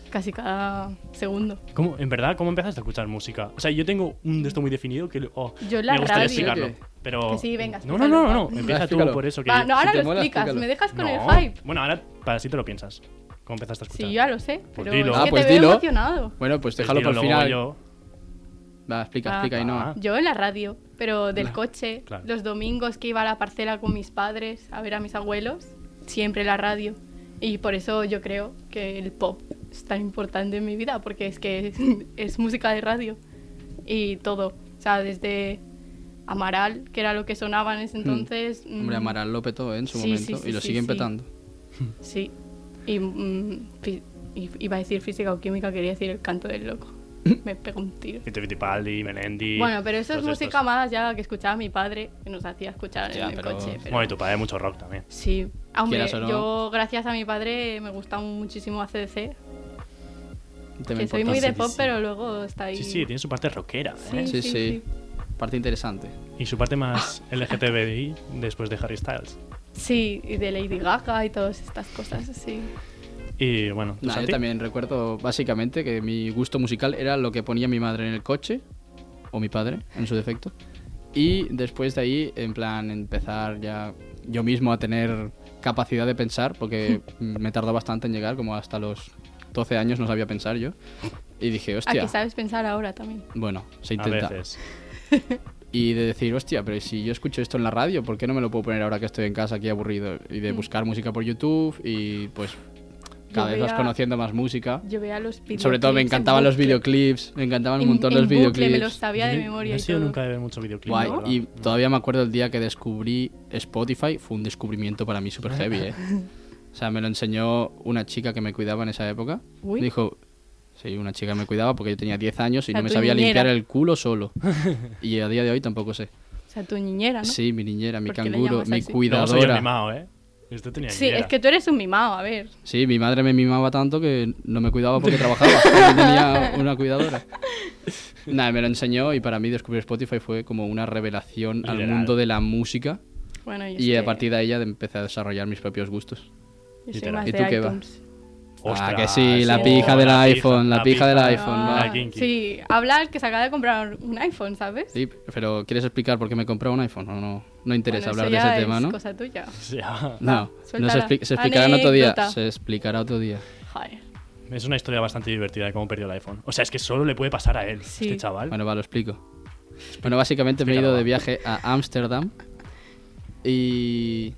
Speaker 4: casi cada segundo.
Speaker 3: ¿Cómo, en verdad, ¿cómo empezaste a escuchar música? O sea, yo tengo un de esto muy definido que oh,
Speaker 4: Yo la
Speaker 3: me gustaría
Speaker 4: radio.
Speaker 3: explicarlo.
Speaker 5: ¿Sí o qué?
Speaker 3: Pero...
Speaker 4: Que sí, venga,
Speaker 3: no, no, no, no,
Speaker 4: explícalo, va.
Speaker 3: no, empieza tú
Speaker 5: Explícalo.
Speaker 3: por eso que...
Speaker 4: Va, no, ahora
Speaker 5: te
Speaker 4: lo
Speaker 5: mola,
Speaker 4: explicas,
Speaker 5: explícalo.
Speaker 4: me dejas con
Speaker 3: No.
Speaker 4: el hype.
Speaker 3: Bueno, ahora para sí te lo piensas. ¿Cómo empezaste a escuchar?
Speaker 4: Sí, ya lo sé,
Speaker 3: Pues
Speaker 4: pero
Speaker 3: dilo.
Speaker 4: es
Speaker 5: Ah,
Speaker 4: que
Speaker 5: pues
Speaker 4: te veo
Speaker 5: dilo.
Speaker 4: emocionado.
Speaker 5: Bueno, pues
Speaker 3: Pues
Speaker 5: déjalo
Speaker 3: dilo,
Speaker 5: para el
Speaker 3: luego
Speaker 5: final.
Speaker 3: yo-
Speaker 5: Va, explica,
Speaker 4: Ah,
Speaker 5: explica, Ainhoa.
Speaker 4: Yo en la radio, pero del coche,
Speaker 3: claro.
Speaker 4: los domingos que iba a la parcela con mis padres a ver a mis abuelos, siempre la radio. Y por eso yo creo que el pop es tan importante en mi vida, porque es que es, música de radio y todo. O sea, desde Amaral, que era lo que sonaba en ese entonces. mm,
Speaker 5: Hmm. Hombre, Amaral lo petó ¿eh? en su
Speaker 4: Sí,
Speaker 5: momento
Speaker 4: sí, sí,
Speaker 5: y lo
Speaker 4: sí,
Speaker 5: siguen
Speaker 4: sí.
Speaker 5: petando.
Speaker 4: Sí. Y, mm, fi- y- iba a decir física o química, quería decir el canto del loco. me pegó un tiro.
Speaker 3: Vito Fittipaldi, Melendi.
Speaker 4: Bueno, pero eso es
Speaker 5: pues
Speaker 3: todos
Speaker 4: música
Speaker 3: estos.
Speaker 4: más ya que escuchaba mi padre, que nos hacía escuchar
Speaker 5: Hostia,
Speaker 4: en el
Speaker 5: pero-
Speaker 4: coche. pero-
Speaker 3: Bueno, y tu padre mucho rock también.
Speaker 4: Sí, aunque
Speaker 5: Quieras o no.
Speaker 4: yo gracias a mi padre me gusta muchísimo ACDC,
Speaker 5: Tema
Speaker 4: que soy muy de pop,
Speaker 5: importante.
Speaker 4: pero luego está ahí.
Speaker 3: Sí, sí, tiene su parte rockera. ¿eh?
Speaker 4: Sí,
Speaker 5: Sí,
Speaker 4: sí,
Speaker 5: sí. Parte interesante.
Speaker 3: Y su parte más LGTBI después de Harry Styles.
Speaker 4: Sí, y de Lady Gaga y todas estas cosas así.
Speaker 3: Y bueno, ¿tú,
Speaker 5: Nah, yo
Speaker 3: Santi?
Speaker 5: también recuerdo básicamente que mi gusto musical era lo que ponía mi madre en el coche, o mi padre, en su defecto. Y después de ahí, en plan, empezar ya yo mismo a tener capacidad de pensar, porque me tardó bastante en llegar, como hasta los 12 años no sabía pensar yo. Y dije, hostia,
Speaker 4: Aquí sabes pensar ahora también.
Speaker 5: bueno, se
Speaker 3: A
Speaker 5: intenta.
Speaker 3: veces.
Speaker 5: Y de decir, hostia, pero si yo escucho esto en la radio, ¿por qué no me lo puedo poner ahora que estoy en casa aquí aburrido? Y de buscar música por YouTube y pues cada
Speaker 4: Mm. Yo
Speaker 5: vez vas
Speaker 4: veía-
Speaker 5: conociendo más música.
Speaker 4: Yo veía los videoclips.
Speaker 5: Sobre todo me
Speaker 4: en
Speaker 5: encantaban los
Speaker 4: bucle.
Speaker 5: videoclips, me encantaban un
Speaker 4: En-
Speaker 5: montón
Speaker 4: en
Speaker 5: los
Speaker 4: bucle,
Speaker 5: videoclips.
Speaker 4: Me los sabía de
Speaker 3: Yo no-
Speaker 4: memoria
Speaker 3: No
Speaker 4: y
Speaker 3: he sido
Speaker 4: todo.
Speaker 3: nunca de ver mucho videoclip.
Speaker 5: Guay.
Speaker 3: la verdad.
Speaker 5: Y todavía me acuerdo el día que descubrí Spotify, fue un descubrimiento para mí súper heavy, ¿eh? O sea, me lo enseñó una chica que me cuidaba en esa época.
Speaker 4: Uy.
Speaker 5: Me dijo, sí, una chica me cuidaba porque yo tenía 10 años y
Speaker 4: La
Speaker 5: no me
Speaker 4: tu
Speaker 5: sabía
Speaker 4: niñera.
Speaker 5: limpiar el culo solo. Y a día de hoy tampoco sé.
Speaker 4: O sea, tu niñera, ¿no?
Speaker 5: Sí, mi niñera, mi
Speaker 4: ¿Por qué le
Speaker 5: canguro,
Speaker 4: llamas
Speaker 5: mi
Speaker 4: así?
Speaker 3: Luego soy yo
Speaker 5: cuidadora.
Speaker 3: mimado, ¿eh? Esto tenía
Speaker 4: Sí,
Speaker 3: ñera.
Speaker 4: es que tú eres un mimado, a ver.
Speaker 5: Sí, mi madre me mimaba tanto que no me cuidaba porque trabajaba. porque tenía una cuidadora. Nada, me lo enseñó y para mí descubrir Spotify fue como una revelación al
Speaker 3: Literal.
Speaker 5: mundo de la música
Speaker 4: Bueno, yo
Speaker 5: y a partir de ella empecé a desarrollar mis propios gustos.
Speaker 4: soy
Speaker 3: Literal.
Speaker 4: más
Speaker 5: ¿Y
Speaker 4: de
Speaker 5: tú qué va?
Speaker 4: iTunes.
Speaker 5: ah,
Speaker 3: Ostras,
Speaker 5: que sí, la
Speaker 4: sí.
Speaker 5: pija
Speaker 4: Oh,
Speaker 5: del
Speaker 3: la pija,
Speaker 5: iPhone, la
Speaker 3: la
Speaker 5: pija del
Speaker 3: pija.
Speaker 5: iPhone.
Speaker 4: Ah,
Speaker 5: va.
Speaker 3: la kinky.
Speaker 4: sí, habla el que se acaba de comprar un iPhone, ¿sabes?
Speaker 5: Sí, pero ¿quieres explicar por qué me compré un iPhone? No, no, no interesa
Speaker 4: Bueno, eso
Speaker 5: hablar de
Speaker 4: ya
Speaker 5: ese
Speaker 4: es
Speaker 5: tema, ¿no?
Speaker 4: cosa tuya.
Speaker 3: O sea,
Speaker 5: No,
Speaker 4: Va,
Speaker 5: no se,
Speaker 4: suéltala.
Speaker 5: expli- se explicará en otro día.
Speaker 4: Anécdota.
Speaker 5: Se explicará otro día.
Speaker 4: Joder.
Speaker 3: es una historia bastante divertida de cómo perdió el iPhone. O sea, es que solo le puede pasar a él,
Speaker 4: Sí.
Speaker 3: este chaval.
Speaker 5: Bueno, va, lo explico. Bueno, básicamente me he
Speaker 3: Explícalo,
Speaker 5: ido
Speaker 3: va.
Speaker 5: de viaje a Ámsterdam y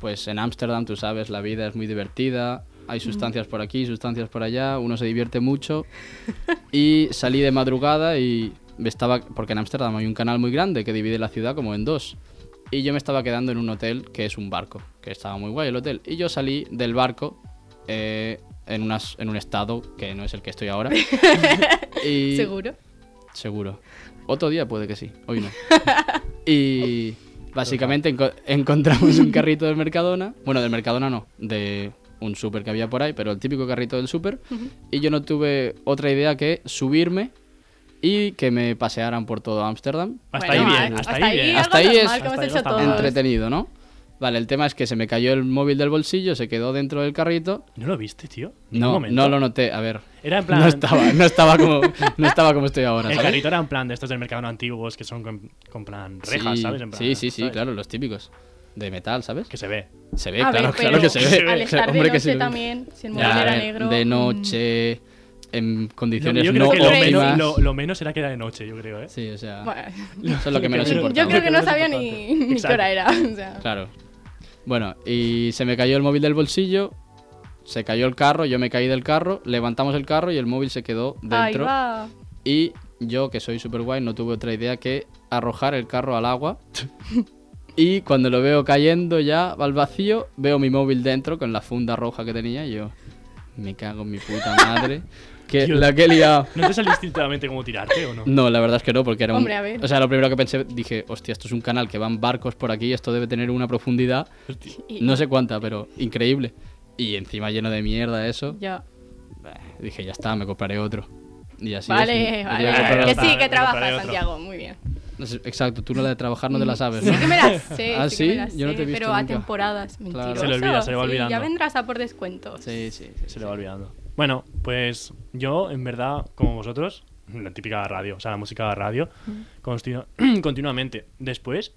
Speaker 5: pues en Ámsterdam, tú sabes, la vida es muy divertida, hay
Speaker 3: Mm.
Speaker 5: sustancias por aquí, sustancias por allá, uno se divierte mucho y salí de madrugada y me estaba, porque en Ámsterdam hay un canal muy grande que divide la ciudad como en dos y yo me estaba quedando en un hotel que es un barco, que estaba muy guay el hotel y yo salí del barco eh, en, unas, en un estado que no es el que estoy ahora. y,
Speaker 4: ¿Seguro?
Speaker 5: Seguro. Otro día puede que sí, hoy no. Y básicamente enco- encontramos un carrito del Mercadona. Bueno, del Mercadona no, de un súper que había por ahí, pero el típico carrito del súper. Y yo no tuve otra idea que subirme y que me pasearan por todo Ámsterdam.
Speaker 3: hasta
Speaker 4: Bueno,
Speaker 3: ahí
Speaker 4: a-
Speaker 3: bien, hasta, ahí bien.
Speaker 5: Hasta
Speaker 4: algo
Speaker 5: ahí es-
Speaker 4: normal, como
Speaker 3: hasta
Speaker 4: has
Speaker 3: ahí
Speaker 4: hecho
Speaker 3: está
Speaker 4: todos.
Speaker 3: bien.
Speaker 5: Entretenido, ¿no? Vale, el tema es que se me cayó el móvil del bolsillo, se quedó dentro del carrito.
Speaker 3: ¿No lo viste, tío?
Speaker 5: No,
Speaker 3: Ningún
Speaker 5: no
Speaker 3: momento.
Speaker 5: lo noté, a ver.
Speaker 3: Era en plan.
Speaker 5: No estaba, no estaba como, no estaba como estoy ahora.
Speaker 3: El
Speaker 5: ¿sabes?
Speaker 3: carrito era en plan de estos del mercado antiguos que son con, con plan rejas,
Speaker 5: sí,
Speaker 3: ¿sabes? En plan,
Speaker 5: sí, sí, sí,
Speaker 3: ¿sabes?
Speaker 5: claro, los típicos. De metal, ¿sabes?
Speaker 3: Que se ve.
Speaker 5: Se ve,
Speaker 4: A
Speaker 5: claro,
Speaker 4: ver,
Speaker 5: claro
Speaker 4: pero
Speaker 5: que se ve.
Speaker 4: al estar
Speaker 5: Hombre,
Speaker 4: de
Speaker 5: que se
Speaker 4: noche
Speaker 5: ve.
Speaker 4: también, si el
Speaker 5: Ya,
Speaker 4: móvil era
Speaker 5: a ver,
Speaker 4: negro...
Speaker 5: de
Speaker 4: mm,
Speaker 5: noche, en
Speaker 3: Yo,
Speaker 5: condiciones
Speaker 3: yo
Speaker 5: no
Speaker 3: creo que lo
Speaker 5: óptimas.
Speaker 3: menos, lo, lo menos era que era de noche, yo creo, ¿eh?
Speaker 5: Sí, o sea,
Speaker 4: bueno,
Speaker 5: eso es lo que menos
Speaker 3: Yo
Speaker 5: importa.
Speaker 4: yo creo que no
Speaker 3: Importante.
Speaker 4: sabía ni, ni qué
Speaker 3: Exacto.
Speaker 4: hora era. O sea,
Speaker 5: Claro. Bueno, y se me cayó el móvil del bolsillo, se cayó el carro, yo me caí del carro, levantamos el carro y el móvil se quedó
Speaker 4: ahí
Speaker 5: dentro.
Speaker 4: va.
Speaker 5: Y yo, que soy super guay, no tuve otra idea que arrojar el carro al agua. y cuando lo veo cayendo ya al vacío, veo mi móvil dentro con la funda roja que tenía. Y yo, me cago en mi puta madre. que
Speaker 3: Dios.
Speaker 5: la que he liado.
Speaker 3: ¿No te saliste instintivamente como tirarte o no?
Speaker 5: No, la verdad es que no, porque era un.
Speaker 4: Hombre, a ver.
Speaker 5: O sea, lo primero que pensé, dije, hostia, esto es un canal que van barcos por aquí, esto debe tener una profundidad,
Speaker 3: Hostia.
Speaker 4: Y-
Speaker 5: no sé cuánta, pero increíble. Y encima lleno de mierda eso.
Speaker 4: Ya.
Speaker 5: Dije, ya está, me compraré otro. Y así.
Speaker 4: vale,
Speaker 5: es, me
Speaker 4: vale.
Speaker 5: tuve que comprar
Speaker 3: compraré
Speaker 4: Que
Speaker 3: otro.
Speaker 4: sí, que
Speaker 3: Me compraré
Speaker 4: trabajas,
Speaker 3: otro.
Speaker 4: Santiago. Muy bien.
Speaker 5: No sé, Exacto, tú no la de trabajar no te la sabes, ¿no?
Speaker 4: Sí que me las sé,
Speaker 5: ¿Ah,
Speaker 4: que
Speaker 5: sí?
Speaker 4: me las
Speaker 5: Yo no te
Speaker 4: sé,
Speaker 5: he visto
Speaker 4: pero a
Speaker 5: nunca.
Speaker 4: temporadas, mentiroso.
Speaker 5: Se
Speaker 3: le olvida, se le va
Speaker 4: Sí,
Speaker 3: olvidando.
Speaker 4: ya vendrás a por descuento.
Speaker 5: Sí, sí,
Speaker 3: Se le va olvidando. Bueno, pues yo, en verdad, como vosotros, la típica radio, o sea, la música de radio, continu- continuamente. Después,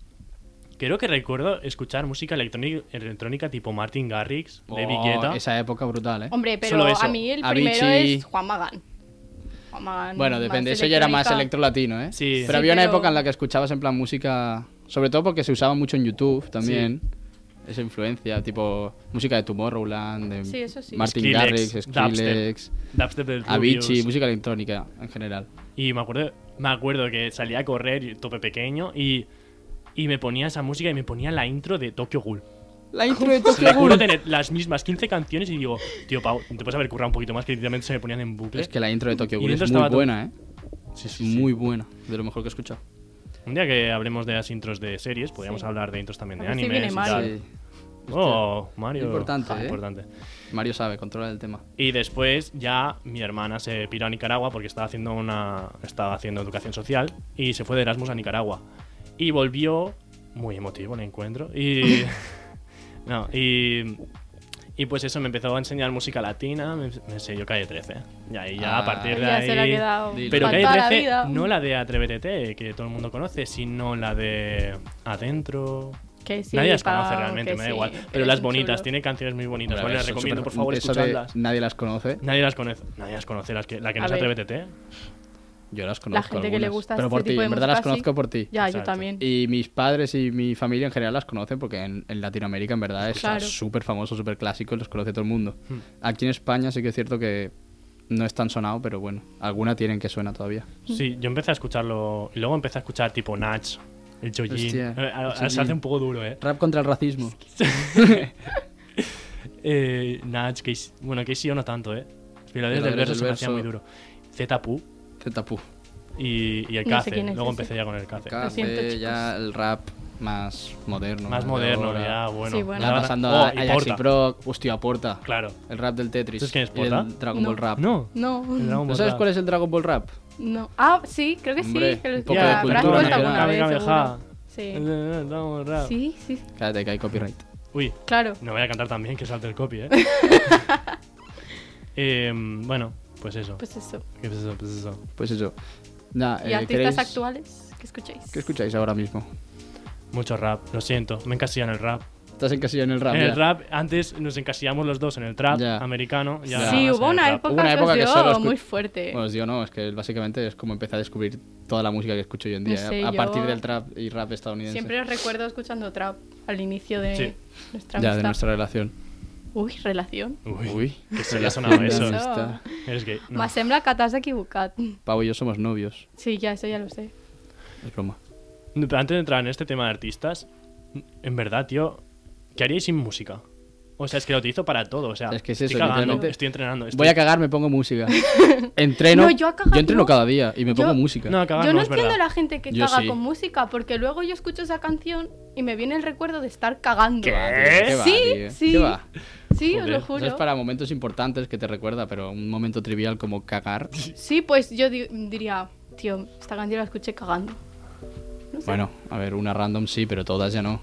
Speaker 3: creo que recuerdo escuchar música electrónica, electrónica tipo Martin Garrix, David Guetta.
Speaker 5: Oh, Esa época brutal, ¿eh?
Speaker 4: Hombre, pero
Speaker 3: Solo eso.
Speaker 4: a mí el primero
Speaker 5: Avicii.
Speaker 4: es Juan Magán. Juan Magán.
Speaker 5: Bueno,
Speaker 4: más
Speaker 5: depende, eso ya era más
Speaker 4: electrónica.
Speaker 5: electrolatino, ¿eh?
Speaker 3: Sí.
Speaker 5: Pero
Speaker 4: Sí,
Speaker 5: había una
Speaker 4: pero-
Speaker 5: época en la que escuchabas en plan música, sobre todo porque se usaba mucho en YouTube también. Esa influencia, tipo música de Tomorrowland, de
Speaker 4: Sí, eso sí.
Speaker 5: Martin
Speaker 3: Skrillex,
Speaker 5: Garrix, Skrillex,
Speaker 3: Dubstep, Dubstep del
Speaker 5: Avicii,
Speaker 3: Rubius.
Speaker 5: música electrónica en general.
Speaker 3: Y me acuerdo, me acuerdo que salía a correr, y- tope pequeño, y, y me ponía esa música y me ponía la intro de Tokyo Ghoul.
Speaker 5: La intro de
Speaker 3: Me
Speaker 5: Tokyo
Speaker 3: acuerdo tener las mismas 15 canciones y digo, tío, Pau, te puedes haber currado un poquito más que literalmente se me ponían en bucle.
Speaker 5: Es que la intro de Tokyo
Speaker 3: Y
Speaker 5: Ghoul
Speaker 3: dentro
Speaker 5: es
Speaker 3: estaba
Speaker 5: muy
Speaker 3: to-
Speaker 5: buena, ¿eh? Sí, sí, muy buena, de lo mejor que he escuchado.
Speaker 3: Un día que hablemos de las intros de series, podríamos
Speaker 4: Sí.
Speaker 3: hablar de intros también de
Speaker 4: A ver si
Speaker 3: animes
Speaker 4: viene
Speaker 3: y
Speaker 4: Mario.
Speaker 3: tal. Oh, Mario.
Speaker 5: Importante, ¿eh?
Speaker 3: Importante.
Speaker 5: Mario sabe, controla el tema.
Speaker 3: Y después ya mi hermana se piró a Nicaragua porque estaba haciendo una estaba haciendo educación social y se fue de Erasmus a Nicaragua y volvió muy emotivo el encuentro y no y y pues eso me empezó a enseñar música latina, me, me enseñó Calle 13 y ahí ya a
Speaker 5: Ah.
Speaker 3: partir de
Speaker 4: Ya
Speaker 3: ahí
Speaker 4: se le ha quedado.
Speaker 5: Dilo.
Speaker 3: pero
Speaker 4: para
Speaker 3: Calle
Speaker 4: toda la
Speaker 3: 13
Speaker 4: vida.
Speaker 3: no la de Atrévete que todo el mundo conoce, sino la de Adentro
Speaker 4: Que sí,
Speaker 3: Nadie las
Speaker 4: Pau,
Speaker 3: conoce realmente,
Speaker 4: que
Speaker 3: me da
Speaker 4: sí,
Speaker 3: igual.
Speaker 4: que
Speaker 3: Pero
Speaker 4: eres
Speaker 3: las
Speaker 4: un
Speaker 3: bonitas,
Speaker 4: chulo.
Speaker 3: tiene canciones muy bonitas. Bueno,
Speaker 5: Hombre,
Speaker 3: les
Speaker 5: eso es
Speaker 3: recomiendo,
Speaker 5: súper-
Speaker 3: por favor,
Speaker 5: eso de
Speaker 3: escucharlas.
Speaker 5: Nadie las conoce.
Speaker 3: Nadie las conoce. Nadie las conoce, las que, la que no
Speaker 4: A
Speaker 3: es
Speaker 4: ver.
Speaker 3: Atrévete. ¿eh?
Speaker 5: Yo las conozco.
Speaker 4: La gente que le
Speaker 5: algunas,
Speaker 4: gusta
Speaker 5: Pero
Speaker 4: este
Speaker 5: por ti,
Speaker 4: tipo de
Speaker 5: en verdad las
Speaker 4: música, sí.
Speaker 5: conozco por ti.
Speaker 4: Ya, yo
Speaker 3: Exacto.
Speaker 4: también.
Speaker 5: Y mis padres y mi familia en general las conocen porque en, en Latinoamérica en verdad es
Speaker 4: Claro.
Speaker 5: súper famoso, súper clásico y los conoce todo el mundo.
Speaker 3: Hmm.
Speaker 5: Aquí en España sí que es cierto que no es tan sonado, pero bueno, alguna tienen que suena todavía.
Speaker 3: Sí, yo empecé a escucharlo. Y luego empecé a escuchar tipo Nach, el Chojin.
Speaker 5: Hostia,
Speaker 3: Eh, a- a-
Speaker 5: Chojin.
Speaker 3: Se hace un poco duro, ¿eh?
Speaker 5: Rap contra el racismo.
Speaker 3: eh Nach, que bueno, que sí o no tanto, ¿eh? Pero
Speaker 5: Pero
Speaker 3: desde el
Speaker 5: desde
Speaker 3: verso
Speaker 5: el
Speaker 3: se me hacía
Speaker 5: verso-
Speaker 3: muy duro. Zetapu
Speaker 5: Zetapú.
Speaker 3: y, y el
Speaker 4: No sé
Speaker 3: Kaze.
Speaker 4: quién es
Speaker 3: luego
Speaker 4: ese.
Speaker 3: empecé ya con el Kaze.
Speaker 5: Acá
Speaker 4: siento,
Speaker 5: hace ya
Speaker 4: chicos.
Speaker 5: el rap más moderno.
Speaker 3: Más
Speaker 5: de
Speaker 3: moderno,
Speaker 5: ahora.
Speaker 3: ya, bueno.
Speaker 4: Sí, bueno.
Speaker 5: Ya
Speaker 3: Ahora-
Speaker 5: pasando
Speaker 3: Oh,
Speaker 5: a
Speaker 3: y
Speaker 5: Ajax y
Speaker 3: Porta.
Speaker 5: Pro, hostia, aporta.
Speaker 3: Claro.
Speaker 5: El rap del Tetris.
Speaker 3: ¿Sabes quién es
Speaker 5: y
Speaker 3: Porta?
Speaker 5: El Dragon
Speaker 4: No.
Speaker 5: Ball Rap.
Speaker 3: No.
Speaker 4: No,
Speaker 3: el Dragon
Speaker 5: ¿No
Speaker 3: Ball
Speaker 5: sabes
Speaker 3: Rap.
Speaker 5: cuál es el Dragon Ball Rap?
Speaker 4: no. Ah, sí, creo que
Speaker 5: Hombre,
Speaker 4: sí. Que
Speaker 5: un
Speaker 4: lo
Speaker 5: poco
Speaker 4: ya,
Speaker 5: de cultura
Speaker 4: habrás puesto
Speaker 5: general.
Speaker 4: alguna vez,
Speaker 3: Cabe,
Speaker 4: seguro.
Speaker 3: cabe,
Speaker 4: Sí.
Speaker 3: Eh, Dragon Ball Rap.
Speaker 4: sí, sí,
Speaker 5: Cállate que hay copyright.
Speaker 3: Uy,
Speaker 4: claro.
Speaker 5: Eh,
Speaker 3: No voy a cantar también, que salte el copy, ¿eh? Em, bueno, pues eso.
Speaker 4: Pues eso.
Speaker 3: ¿Qué es eso? Pues eso.
Speaker 5: Pues eso. Nah,
Speaker 4: ¿Y
Speaker 5: eh,
Speaker 4: artistas
Speaker 5: ¿queréis-
Speaker 4: actuales? ¿Qué escucháis?
Speaker 5: ¿Qué escucháis ahora mismo?
Speaker 3: Mucho rap, lo siento. Me encasillan en el rap.
Speaker 5: Estás encasillado en el rap.
Speaker 3: en
Speaker 5: ya.
Speaker 3: el rap, antes nos encasillamos los dos en el trap
Speaker 5: Ah, Ya.
Speaker 3: americano. y ahora
Speaker 4: sí,
Speaker 3: más
Speaker 4: hubo
Speaker 3: en el
Speaker 4: una
Speaker 3: rap.
Speaker 4: época,
Speaker 5: Hubo una época
Speaker 4: que
Speaker 5: que
Speaker 4: os dio
Speaker 5: solo escu-
Speaker 4: muy fuerte.
Speaker 5: Bueno, os digo, no, es que básicamente es como empecé a descubrir toda la música que escucho yo en
Speaker 4: No
Speaker 5: día, ¿eh?
Speaker 4: sé,
Speaker 5: a, a
Speaker 4: yo-
Speaker 5: partir del trap y rap estadounidense.
Speaker 4: Siempre os recuerdo escuchando trap al inicio de
Speaker 3: Sí.
Speaker 4: nuestra amistad.
Speaker 5: Ya, de nuestra relación.
Speaker 4: Uy, relación.
Speaker 3: Uy, que se le ha
Speaker 5: relación
Speaker 3: sonado
Speaker 5: de
Speaker 3: eso.
Speaker 5: amistad.
Speaker 3: Es que. no.
Speaker 4: Me sembla que t'has equivocat.
Speaker 5: Pau y yo somos novios.
Speaker 4: Sí, ya, eso ya lo sé.
Speaker 5: Es broma.
Speaker 3: Pero antes de entrar en este tema de artistas, en verdad, tío, ¿qué haríais sin música? O sea, es que lo utilizo para todo. O sea,
Speaker 5: Es que es
Speaker 3: estoy
Speaker 5: eso,
Speaker 3: cagando,
Speaker 5: literalmente.
Speaker 3: estoy entrenando. Estoy...
Speaker 5: Voy a cagar, me pongo música. Entreno.
Speaker 4: No, yo a cagar
Speaker 5: entreno
Speaker 4: no.
Speaker 5: cada día y me
Speaker 4: Yo-
Speaker 5: pongo música. Ah,
Speaker 3: No, a cagar
Speaker 4: yo
Speaker 3: no
Speaker 4: no
Speaker 3: es verdad.
Speaker 4: entiendo a la gente que
Speaker 5: Yo
Speaker 4: caga
Speaker 5: sí.
Speaker 4: con música, porque luego yo escucho esa canción y me viene el recuerdo de estar cagando.
Speaker 5: ¿Qué va, tío?
Speaker 3: ¿Eh?
Speaker 5: ¿Qué va,
Speaker 4: Sí,
Speaker 5: tío?
Speaker 4: sí.
Speaker 5: ¿Qué va?
Speaker 4: Sí, os
Speaker 3: Joder,
Speaker 4: lo
Speaker 5: Eso
Speaker 4: juro.
Speaker 5: es para momentos importantes que te recuerda, pero un momento trivial como cagar.
Speaker 4: Sí, pues yo di- diría, tío, esta canción la escuché cagando.
Speaker 5: Bueno, a ver, una random sí, pero todas ya no.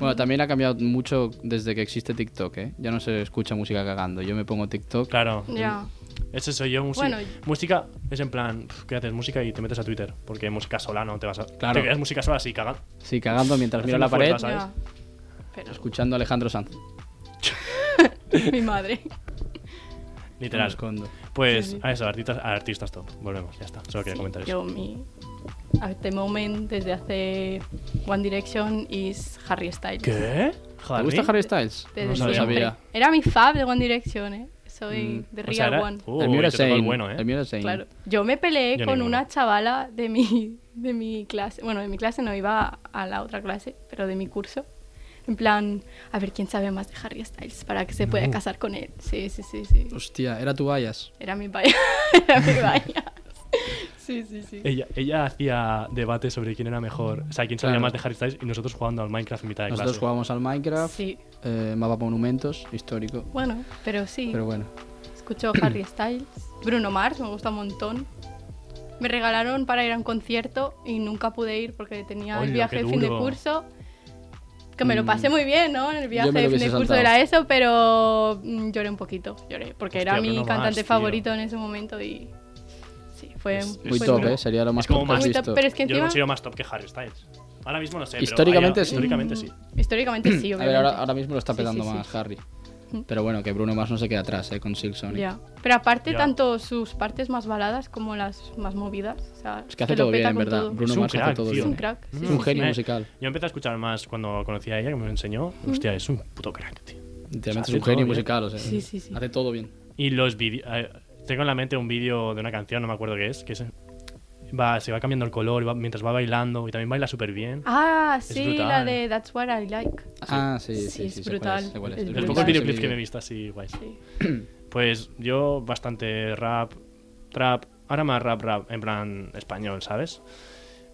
Speaker 5: Bueno, también ha cambiado mucho desde que existe TikTok, ¿eh? Ya no se escucha música cagando. Yo me pongo TikTok.
Speaker 3: Claro.
Speaker 4: Ya.
Speaker 3: Ese soy yo, música.
Speaker 4: Bueno,
Speaker 3: música es en plan, pf, ¿qué haces? Música y te metes a Twitter. Porque música sola no te vas a.
Speaker 5: Claro.
Speaker 3: Te quedas música sola así, caga.
Speaker 5: Sí, cagando mientras miro
Speaker 3: Haciendo
Speaker 5: la pared,
Speaker 3: fuerzas, ¿Sabes?
Speaker 4: Ya. Pero
Speaker 5: escuchando a Alejandro Sanz.
Speaker 4: mi madre.
Speaker 5: Me
Speaker 3: Literal.
Speaker 5: escondo.
Speaker 3: Pues
Speaker 4: Sí, sí.
Speaker 3: a eso, artistas, a artistas top. Volvemos, ya está. Solo quería comentar eso.
Speaker 4: Yo, mi. A este moment, desde hace One Direction, is Harry Styles.
Speaker 3: ¿Qué?
Speaker 5: ¿Te gusta Harry Styles?
Speaker 4: Desde
Speaker 3: No
Speaker 5: lo
Speaker 3: sabía.
Speaker 4: siempre.
Speaker 5: sabía.
Speaker 4: Era mi fab de One Direction, ¿eh? Soy de
Speaker 3: O sea,
Speaker 4: Real
Speaker 3: era-
Speaker 4: One.
Speaker 3: Uh,
Speaker 5: el mío era
Speaker 3: te tocó el
Speaker 5: Zayn.
Speaker 3: bueno, ¿eh?
Speaker 5: El mío era Zayn.
Speaker 4: Claro. Yo me peleé
Speaker 3: Yo
Speaker 4: con
Speaker 3: ninguno.
Speaker 4: una chavala de mi, de mi clase. Bueno, de mi clase no iba a la otra clase, pero de mi curso. En plan, a ver quién sabe más de Harry Styles para que se pueda casar con él. Sí, sí, sí, sí.
Speaker 5: Hostia, era tu bias.
Speaker 4: Era mi vaya. Era mi vaya. Sí, sí, sí.
Speaker 3: Ella, ella hacía debate sobre quién era mejor, o sea, quién sabía
Speaker 5: Claro.
Speaker 3: más de Harry Styles y nosotros jugando al Minecraft en mitad de
Speaker 5: Nosotros
Speaker 3: clase.
Speaker 5: jugábamos al Minecraft,
Speaker 4: Sí.
Speaker 5: eh, mapa monumentos, histórico.
Speaker 4: Bueno, pero sí.
Speaker 5: Pero bueno,
Speaker 4: Escucho Harry Styles. Bruno Mars, me gusta un montón. Me regalaron para ir a un concierto y nunca pude ir porque tenía
Speaker 3: Hola,
Speaker 4: el viaje
Speaker 3: qué
Speaker 4: de fin de
Speaker 3: duro. Mm.
Speaker 4: curso. Que me lo pasé muy bien, ¿no? En el viaje
Speaker 5: me
Speaker 4: de
Speaker 5: lo
Speaker 4: fin de
Speaker 5: hubiese
Speaker 4: curso
Speaker 5: saltado.
Speaker 4: era eso, pero mm, lloré un poquito. Lloré porque era
Speaker 3: Hostia,
Speaker 4: mi
Speaker 3: Bruno Mars,
Speaker 4: cantante
Speaker 3: tío.
Speaker 4: favorito en ese momento y. Sí, fue.
Speaker 3: Es-
Speaker 4: fue
Speaker 5: muy
Speaker 3: Pues
Speaker 5: top,
Speaker 3: no.
Speaker 5: ¿eh? Sería lo más
Speaker 3: Es como
Speaker 5: top que has
Speaker 3: más-
Speaker 4: Muy top,
Speaker 5: visto.
Speaker 4: pero es que
Speaker 3: Yo lo
Speaker 4: encima.
Speaker 3: considero más top que Harry Styles. Ahora mismo no sé, pero
Speaker 5: Históricamente
Speaker 3: ahí-
Speaker 5: sí.
Speaker 3: Históricamente sí.
Speaker 4: Históricamente sí,
Speaker 5: A
Speaker 4: obviamente.
Speaker 5: ver, ahora, ahora mismo lo está
Speaker 4: Sí, sí,
Speaker 5: petando
Speaker 4: sí.
Speaker 5: más Harry. Pero bueno, que Bruno Mars no se queda atrás, ¿eh? Con Silk Sonic.
Speaker 4: Ya. Pero aparte,
Speaker 3: Ya.
Speaker 4: tanto sus partes más baladas como las más movidas. O sea,
Speaker 5: Es que
Speaker 4: se
Speaker 5: hace
Speaker 4: lo
Speaker 5: todo bien,
Speaker 4: peta
Speaker 5: en
Speaker 4: con
Speaker 5: verdad.
Speaker 4: todo.
Speaker 5: Bruno
Speaker 3: Es un
Speaker 5: Mars hace
Speaker 3: crack,
Speaker 5: todo
Speaker 3: tío. Mm.
Speaker 5: bien.
Speaker 4: Es un crack, sí,
Speaker 5: Es
Speaker 4: sí.
Speaker 5: un genio
Speaker 3: Me-
Speaker 5: musical.
Speaker 3: Yo empecé a escuchar más cuando conocí a ella, que me lo enseñó.
Speaker 4: Mm.
Speaker 3: Hostia, es un puto crack, tío.
Speaker 5: Literalmente
Speaker 3: hace
Speaker 5: es un
Speaker 3: todo
Speaker 5: genio
Speaker 3: bien.
Speaker 5: musical, o sea.
Speaker 4: Sí, sí, sí.
Speaker 5: Hace todo bien.
Speaker 3: Y los vídeos. Tengo en la mente un vídeo de una canción, no me acuerdo qué es, que es- va, se va cambiando el color y va- mientras va bailando y también baila súper bien.
Speaker 4: Ah, sí, la
Speaker 3: brutal.
Speaker 4: de That's What I Like.
Speaker 5: Ah, sí, sí,
Speaker 4: Sí,
Speaker 5: sí.
Speaker 4: es
Speaker 5: sé cuál
Speaker 4: brutal.
Speaker 5: sé cuál
Speaker 4: Es
Speaker 5: Yo
Speaker 3: Los
Speaker 5: he
Speaker 4: brutal.
Speaker 3: pocos
Speaker 5: visto ese
Speaker 3: videoclips que me he
Speaker 5: vídeo.
Speaker 3: visto así, guays.
Speaker 4: Sí.
Speaker 3: Pues yo bastante rap, trap, ahora más rap rap, en plan español, ¿sabes?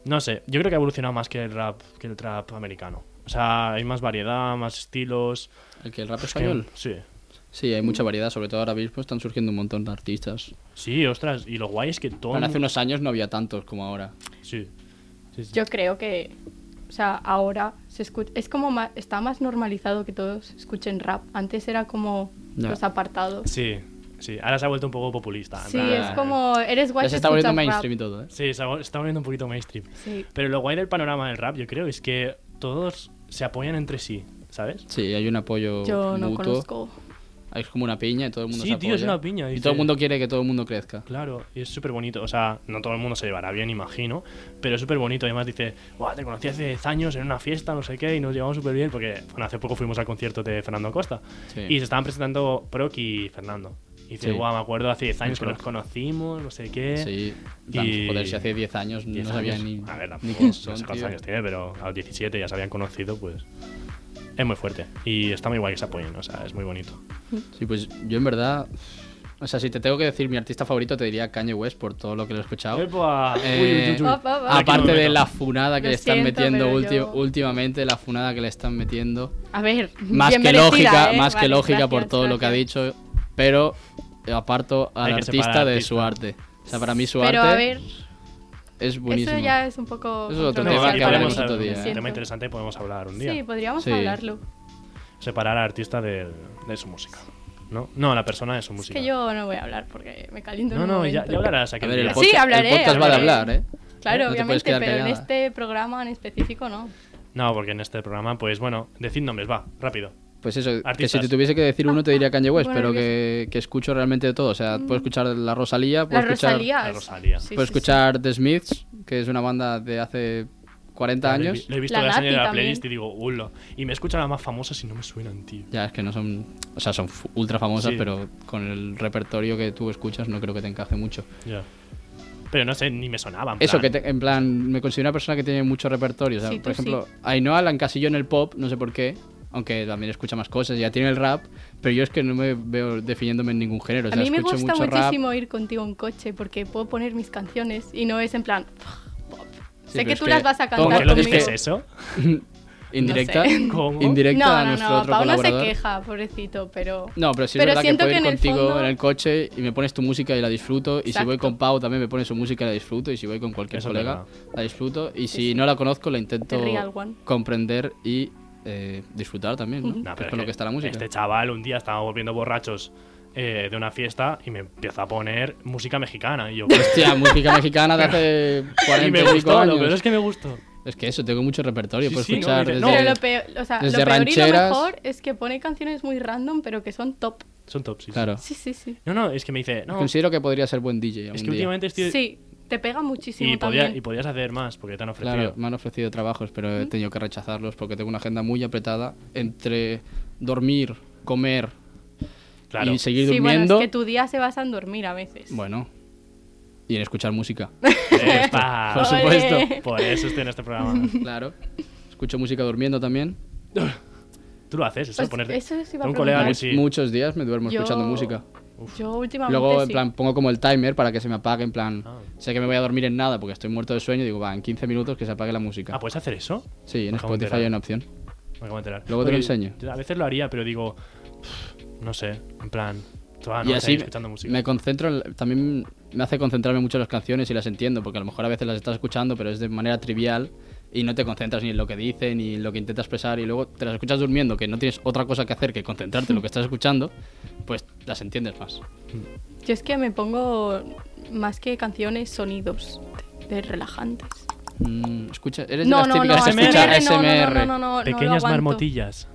Speaker 3: No sé, yo creo que ha evolucionado más que el rap, que el trap americano. O sea, hay más variedad, más estilos.
Speaker 5: El que el rap
Speaker 3: Es que-
Speaker 5: español.
Speaker 3: Sí.
Speaker 5: Sí, hay mucha variedad, sobre todo ahora mismo están surgiendo un montón de artistas.
Speaker 3: Sí, ostras, y lo guay es que todo...
Speaker 5: Bueno, hace unos años no había tantos como ahora.
Speaker 3: Sí. Sí, sí.
Speaker 4: Yo creo que, o sea, ahora se escu- es como ma- está más normalizado que todos escuchen rap. Antes era como
Speaker 5: Ya.
Speaker 4: los apartados.
Speaker 3: Sí, sí, ahora se ha vuelto un poco populista. en
Speaker 4: Sí,
Speaker 3: plan-
Speaker 4: es como eres guay.
Speaker 5: Ya se está volviendo
Speaker 4: escuchas
Speaker 5: mainstream y
Speaker 4: rap.
Speaker 5: todo, ¿eh?
Speaker 3: Sí, se ha- está volviendo un poquito mainstream.
Speaker 4: Sí.
Speaker 3: Pero lo guay del panorama del rap, yo creo, es que todos se apoyan entre sí, ¿sabes?
Speaker 5: Sí, hay un apoyo
Speaker 4: Yo no
Speaker 5: mutuo.
Speaker 4: conozco.
Speaker 5: Es como una piña y todo el mundo
Speaker 3: Sí,
Speaker 5: se
Speaker 3: tío, es
Speaker 5: apoya.
Speaker 3: una piña,
Speaker 5: Y
Speaker 3: dice.
Speaker 5: todo el mundo quiere que todo el mundo crezca.
Speaker 3: Claro, y es súper bonito. O sea, no todo el mundo se llevará bien, imagino, pero es súper bonito. Además dice, Buah, te conocí hace 10 años en una fiesta, no sé qué, y nos llevamos súper bien, porque bueno, hace poco fuimos al concierto de Fernando Acosta.
Speaker 5: Sí.
Speaker 3: Y se estaban presentando Proc y Fernando. Y dice,
Speaker 5: Sí.
Speaker 3: guau, me acuerdo hace 10 años que
Speaker 5: Proc.
Speaker 3: nos conocimos, no sé qué.
Speaker 5: Sí,
Speaker 3: Y-
Speaker 5: tan- joder, si hace 10 años
Speaker 3: 10
Speaker 5: no sabía
Speaker 3: años.
Speaker 5: ni,
Speaker 3: A ver,
Speaker 5: ni
Speaker 3: tampoco,
Speaker 5: quién
Speaker 3: no
Speaker 5: son.
Speaker 3: sé cuántos
Speaker 5: tío.
Speaker 3: años tiene, pero a los 17 ya se habían conocido, pues. Es muy fuerte. Y está muy guay que se apoyen, o sea, es muy bonito.
Speaker 5: Sí, pues yo en verdad. O sea, si te tengo que decir mi artista favorito, te diría Kanye West por todo lo que lo he escuchado.
Speaker 3: ¡Epa!
Speaker 5: Eh,
Speaker 4: uy, uy. Op, op, op.
Speaker 3: Aquí no
Speaker 5: Aparte
Speaker 3: me
Speaker 5: de
Speaker 3: meto.
Speaker 5: la funada
Speaker 4: Lo
Speaker 5: que le están
Speaker 4: siento,
Speaker 5: metiendo
Speaker 4: pero
Speaker 5: ulti-
Speaker 4: yo-
Speaker 5: últimamente, la funada que le están metiendo.
Speaker 4: A ver,
Speaker 5: Más
Speaker 4: bien
Speaker 5: que
Speaker 4: merecida,
Speaker 5: lógica,
Speaker 4: ¿eh?
Speaker 5: más que
Speaker 4: Vale,
Speaker 5: lógica por
Speaker 4: gracias,
Speaker 5: todo lo que ha
Speaker 4: gracias.
Speaker 5: dicho, pero aparto al
Speaker 3: Hay que separar
Speaker 5: artista
Speaker 3: al
Speaker 5: de
Speaker 3: artista.
Speaker 5: su arte. O sea, para mí su
Speaker 4: Pero
Speaker 5: arte
Speaker 4: a ver,
Speaker 5: es buenísimo.
Speaker 4: eso ya es un poco.
Speaker 5: Eso es otro
Speaker 3: No,
Speaker 5: tema
Speaker 3: aquí
Speaker 5: que
Speaker 4: controversial,
Speaker 3: podemos
Speaker 5: hablaremos otro
Speaker 3: hablar-
Speaker 5: día,
Speaker 3: Un
Speaker 5: eh.
Speaker 3: tema interesante que podemos hablar un día.
Speaker 4: Sí, pues- podríamos
Speaker 5: Sí.
Speaker 4: hablarlo.
Speaker 3: Separar al artista del- de, su música. ¿No? no, la persona de su
Speaker 4: Es
Speaker 3: música.
Speaker 4: que yo no voy a hablar porque me caliento. en
Speaker 3: No,
Speaker 4: un
Speaker 3: no, ya,
Speaker 4: momento.
Speaker 3: ya hablarás aquel
Speaker 5: A ver, el
Speaker 3: día.
Speaker 5: podcast,
Speaker 4: hablaré,
Speaker 5: el podcast va de
Speaker 4: hablaré.
Speaker 5: hablar, ¿eh?
Speaker 4: Claro,
Speaker 5: No te puedes
Speaker 4: obviamente,
Speaker 5: quedar
Speaker 4: pero en
Speaker 5: callada.
Speaker 4: este programa en específico no.
Speaker 3: No, porque en este programa, pues bueno, decid nombres, va, rápido.
Speaker 5: Pues eso, que si
Speaker 3: Artistas.
Speaker 5: te tuviese que decir uno te diría Kanye West,
Speaker 4: Bueno,
Speaker 5: pero
Speaker 4: nervioso.
Speaker 5: que, que escucho realmente de todo. O sea, puedo escuchar la Rosalía, puedo
Speaker 4: Mm. La
Speaker 5: escuchar,
Speaker 4: Rosalía.
Speaker 3: La
Speaker 4: es-
Speaker 3: Rosalía.
Speaker 4: sí,
Speaker 5: puedo
Speaker 4: sí, sí.
Speaker 5: escuchar The Smiths, que es una banda de hace 40 años.
Speaker 3: Le he visto
Speaker 4: La
Speaker 3: la, serie de
Speaker 4: Nati
Speaker 3: la
Speaker 4: también.
Speaker 3: playlist y digo, ulo. Y me escuchan las más famosas y no me suenan, tío.
Speaker 5: Ya, es que no son. O sea, son f- ultra famosas,
Speaker 3: Sí.
Speaker 5: pero con el repertorio que tú escuchas no creo que te encaje mucho.
Speaker 3: Ya. Pero no sé, ni me sonaban.
Speaker 5: Eso, que te- en plan, me considero una persona que tiene mucho repertorio. O sea,
Speaker 4: Sí, tú
Speaker 5: por ejemplo, Ainhoa la encasilló en el pop, no sé por qué, aunque también escucha más cosas, ya tiene el rap, pero yo es que no me veo definiéndome en ningún género. O
Speaker 4: A
Speaker 5: sea,
Speaker 4: mí me
Speaker 5: escucho
Speaker 4: gusta
Speaker 5: mucho
Speaker 4: muchísimo ir contigo en coche porque puedo poner mis canciones y no es en plan. pop.
Speaker 5: Sí,
Speaker 4: sé
Speaker 5: pero
Speaker 4: que
Speaker 5: es
Speaker 4: tú
Speaker 5: que-
Speaker 4: las vas a
Speaker 5: ¿Cómo
Speaker 3: ¿Por
Speaker 4: cantar.
Speaker 3: qué lo
Speaker 4: conmigo.
Speaker 3: dices eso?
Speaker 5: rap indirecta,
Speaker 4: No sé.
Speaker 3: ¿Cómo?
Speaker 5: indirecta
Speaker 4: No,
Speaker 5: a
Speaker 4: no,
Speaker 5: nuestro
Speaker 4: no,
Speaker 5: otro
Speaker 4: Pau no se
Speaker 5: colaborador.
Speaker 4: queja, pobrecito, pero.
Speaker 5: No, pero sí es
Speaker 4: Pero
Speaker 5: verdad que
Speaker 4: siento
Speaker 5: puedo
Speaker 4: que
Speaker 5: ir
Speaker 4: en el
Speaker 5: contigo
Speaker 4: fondo-
Speaker 5: en el coche y me pones tu música y la disfruto. Y si voy
Speaker 4: Exacto.
Speaker 5: con Pau también me pones su música y la disfruto. Y si voy con cualquier
Speaker 3: Eso es
Speaker 5: colega, la disfruto. Y si no la conozco, la intento
Speaker 4: The real one.
Speaker 5: comprender y eh, disfrutar también, ¿no?
Speaker 3: No,
Speaker 5: Que
Speaker 3: pero
Speaker 5: es con
Speaker 3: es
Speaker 5: lo que está la música.
Speaker 3: Este chaval un día estaba volviendo borrachos eh, de una fiesta y me empieza a poner música mexicana. Y yo, pues,
Speaker 5: Hostia, música mexicana de hace
Speaker 3: y
Speaker 5: 40
Speaker 3: me
Speaker 5: y pico
Speaker 3: gustó,
Speaker 5: años.
Speaker 3: lo peor es que me gustó.
Speaker 5: Es que eso, tengo mucho repertorio.
Speaker 3: Sí,
Speaker 5: puedo
Speaker 3: sí, no,
Speaker 5: escuchar
Speaker 3: mire,
Speaker 5: desde...
Speaker 3: no.
Speaker 4: Pero lo peor, o sea, lo
Speaker 5: Desde
Speaker 4: peor y lo
Speaker 5: rancheras-
Speaker 4: mejor es que pone canciones muy random, pero que son top.
Speaker 3: Son top, sí, sí.
Speaker 5: Claro.
Speaker 4: Sí, sí, sí.
Speaker 3: No, no, es que me dice, no, es
Speaker 5: Considero que podría ser buen DJ algún
Speaker 3: que
Speaker 5: día.
Speaker 3: últimamente estoy...
Speaker 4: Sí, te pega muchísimo
Speaker 3: y, podía,
Speaker 4: también.
Speaker 3: y podías hacer más porque te han ofrecido.
Speaker 5: Claro, me han ofrecido trabajos, pero he tenido que rechazarlos porque tengo una agenda muy apretada entre dormir, comer
Speaker 3: Claro.
Speaker 5: y seguir
Speaker 4: sí,
Speaker 5: durmiendo.
Speaker 4: bueno, es que tu día se basa en dormir a veces.
Speaker 5: Bueno, y en escuchar música,
Speaker 3: Epa,
Speaker 5: por
Speaker 4: Ole.
Speaker 5: supuesto.
Speaker 3: Por eso estoy en este programa.
Speaker 5: Claro. Escucho música durmiendo también.
Speaker 3: Tú lo haces, eso,
Speaker 4: Pues
Speaker 3: ponerte.
Speaker 4: eso os iba a
Speaker 3: Tengo un colega que
Speaker 4: preguntar.
Speaker 3: sí.
Speaker 5: Muchos días me duermo
Speaker 4: Yo-
Speaker 5: escuchando música.
Speaker 4: Yo últimamente
Speaker 5: Luego, en
Speaker 4: sí.
Speaker 5: plan, pongo como el timer para que se me apague, en plan,
Speaker 3: Ah.
Speaker 5: sé que me voy a dormir en nada porque estoy muerto de sueño, digo, va, en 15 minutos que se apague la música.
Speaker 3: Ah, ¿puedes hacer eso?
Speaker 5: sí, en
Speaker 3: me acabo de
Speaker 5: Spotify
Speaker 3: enterar.
Speaker 5: hay una opción.
Speaker 3: Me acabo de enterar.
Speaker 5: Luego te lo
Speaker 3: Oye,
Speaker 5: enseño.
Speaker 3: yo A veces lo haría, pero digo, "Pff, no sé, en plan, toda la
Speaker 5: y
Speaker 3: noche
Speaker 5: así
Speaker 3: Ah, escuchando música.
Speaker 5: me concentro, en- también me hace concentrarme mucho en las canciones y las entiendo, porque a lo mejor a veces las estás escuchando, pero es de manera trivial y no te concentras ni en lo que dice, ni en lo que intenta expresar, y luego te las escuchas durmiendo, que no tienes otra cosa que hacer que concentrarte en lo que estás escuchando, pues las entiendes más.
Speaker 4: Yo es que me pongo más que canciones, sonidos de, de relajantes.
Speaker 5: Mm, escucha, eres
Speaker 4: No,
Speaker 5: de las
Speaker 4: no, no,
Speaker 5: típicas que
Speaker 3: ASMR.
Speaker 5: escucha
Speaker 4: ASMR, no, no, no,
Speaker 5: ASMR.
Speaker 4: no, no, no, no lo
Speaker 3: Pequeñas
Speaker 4: aguanto.
Speaker 3: marmotillas.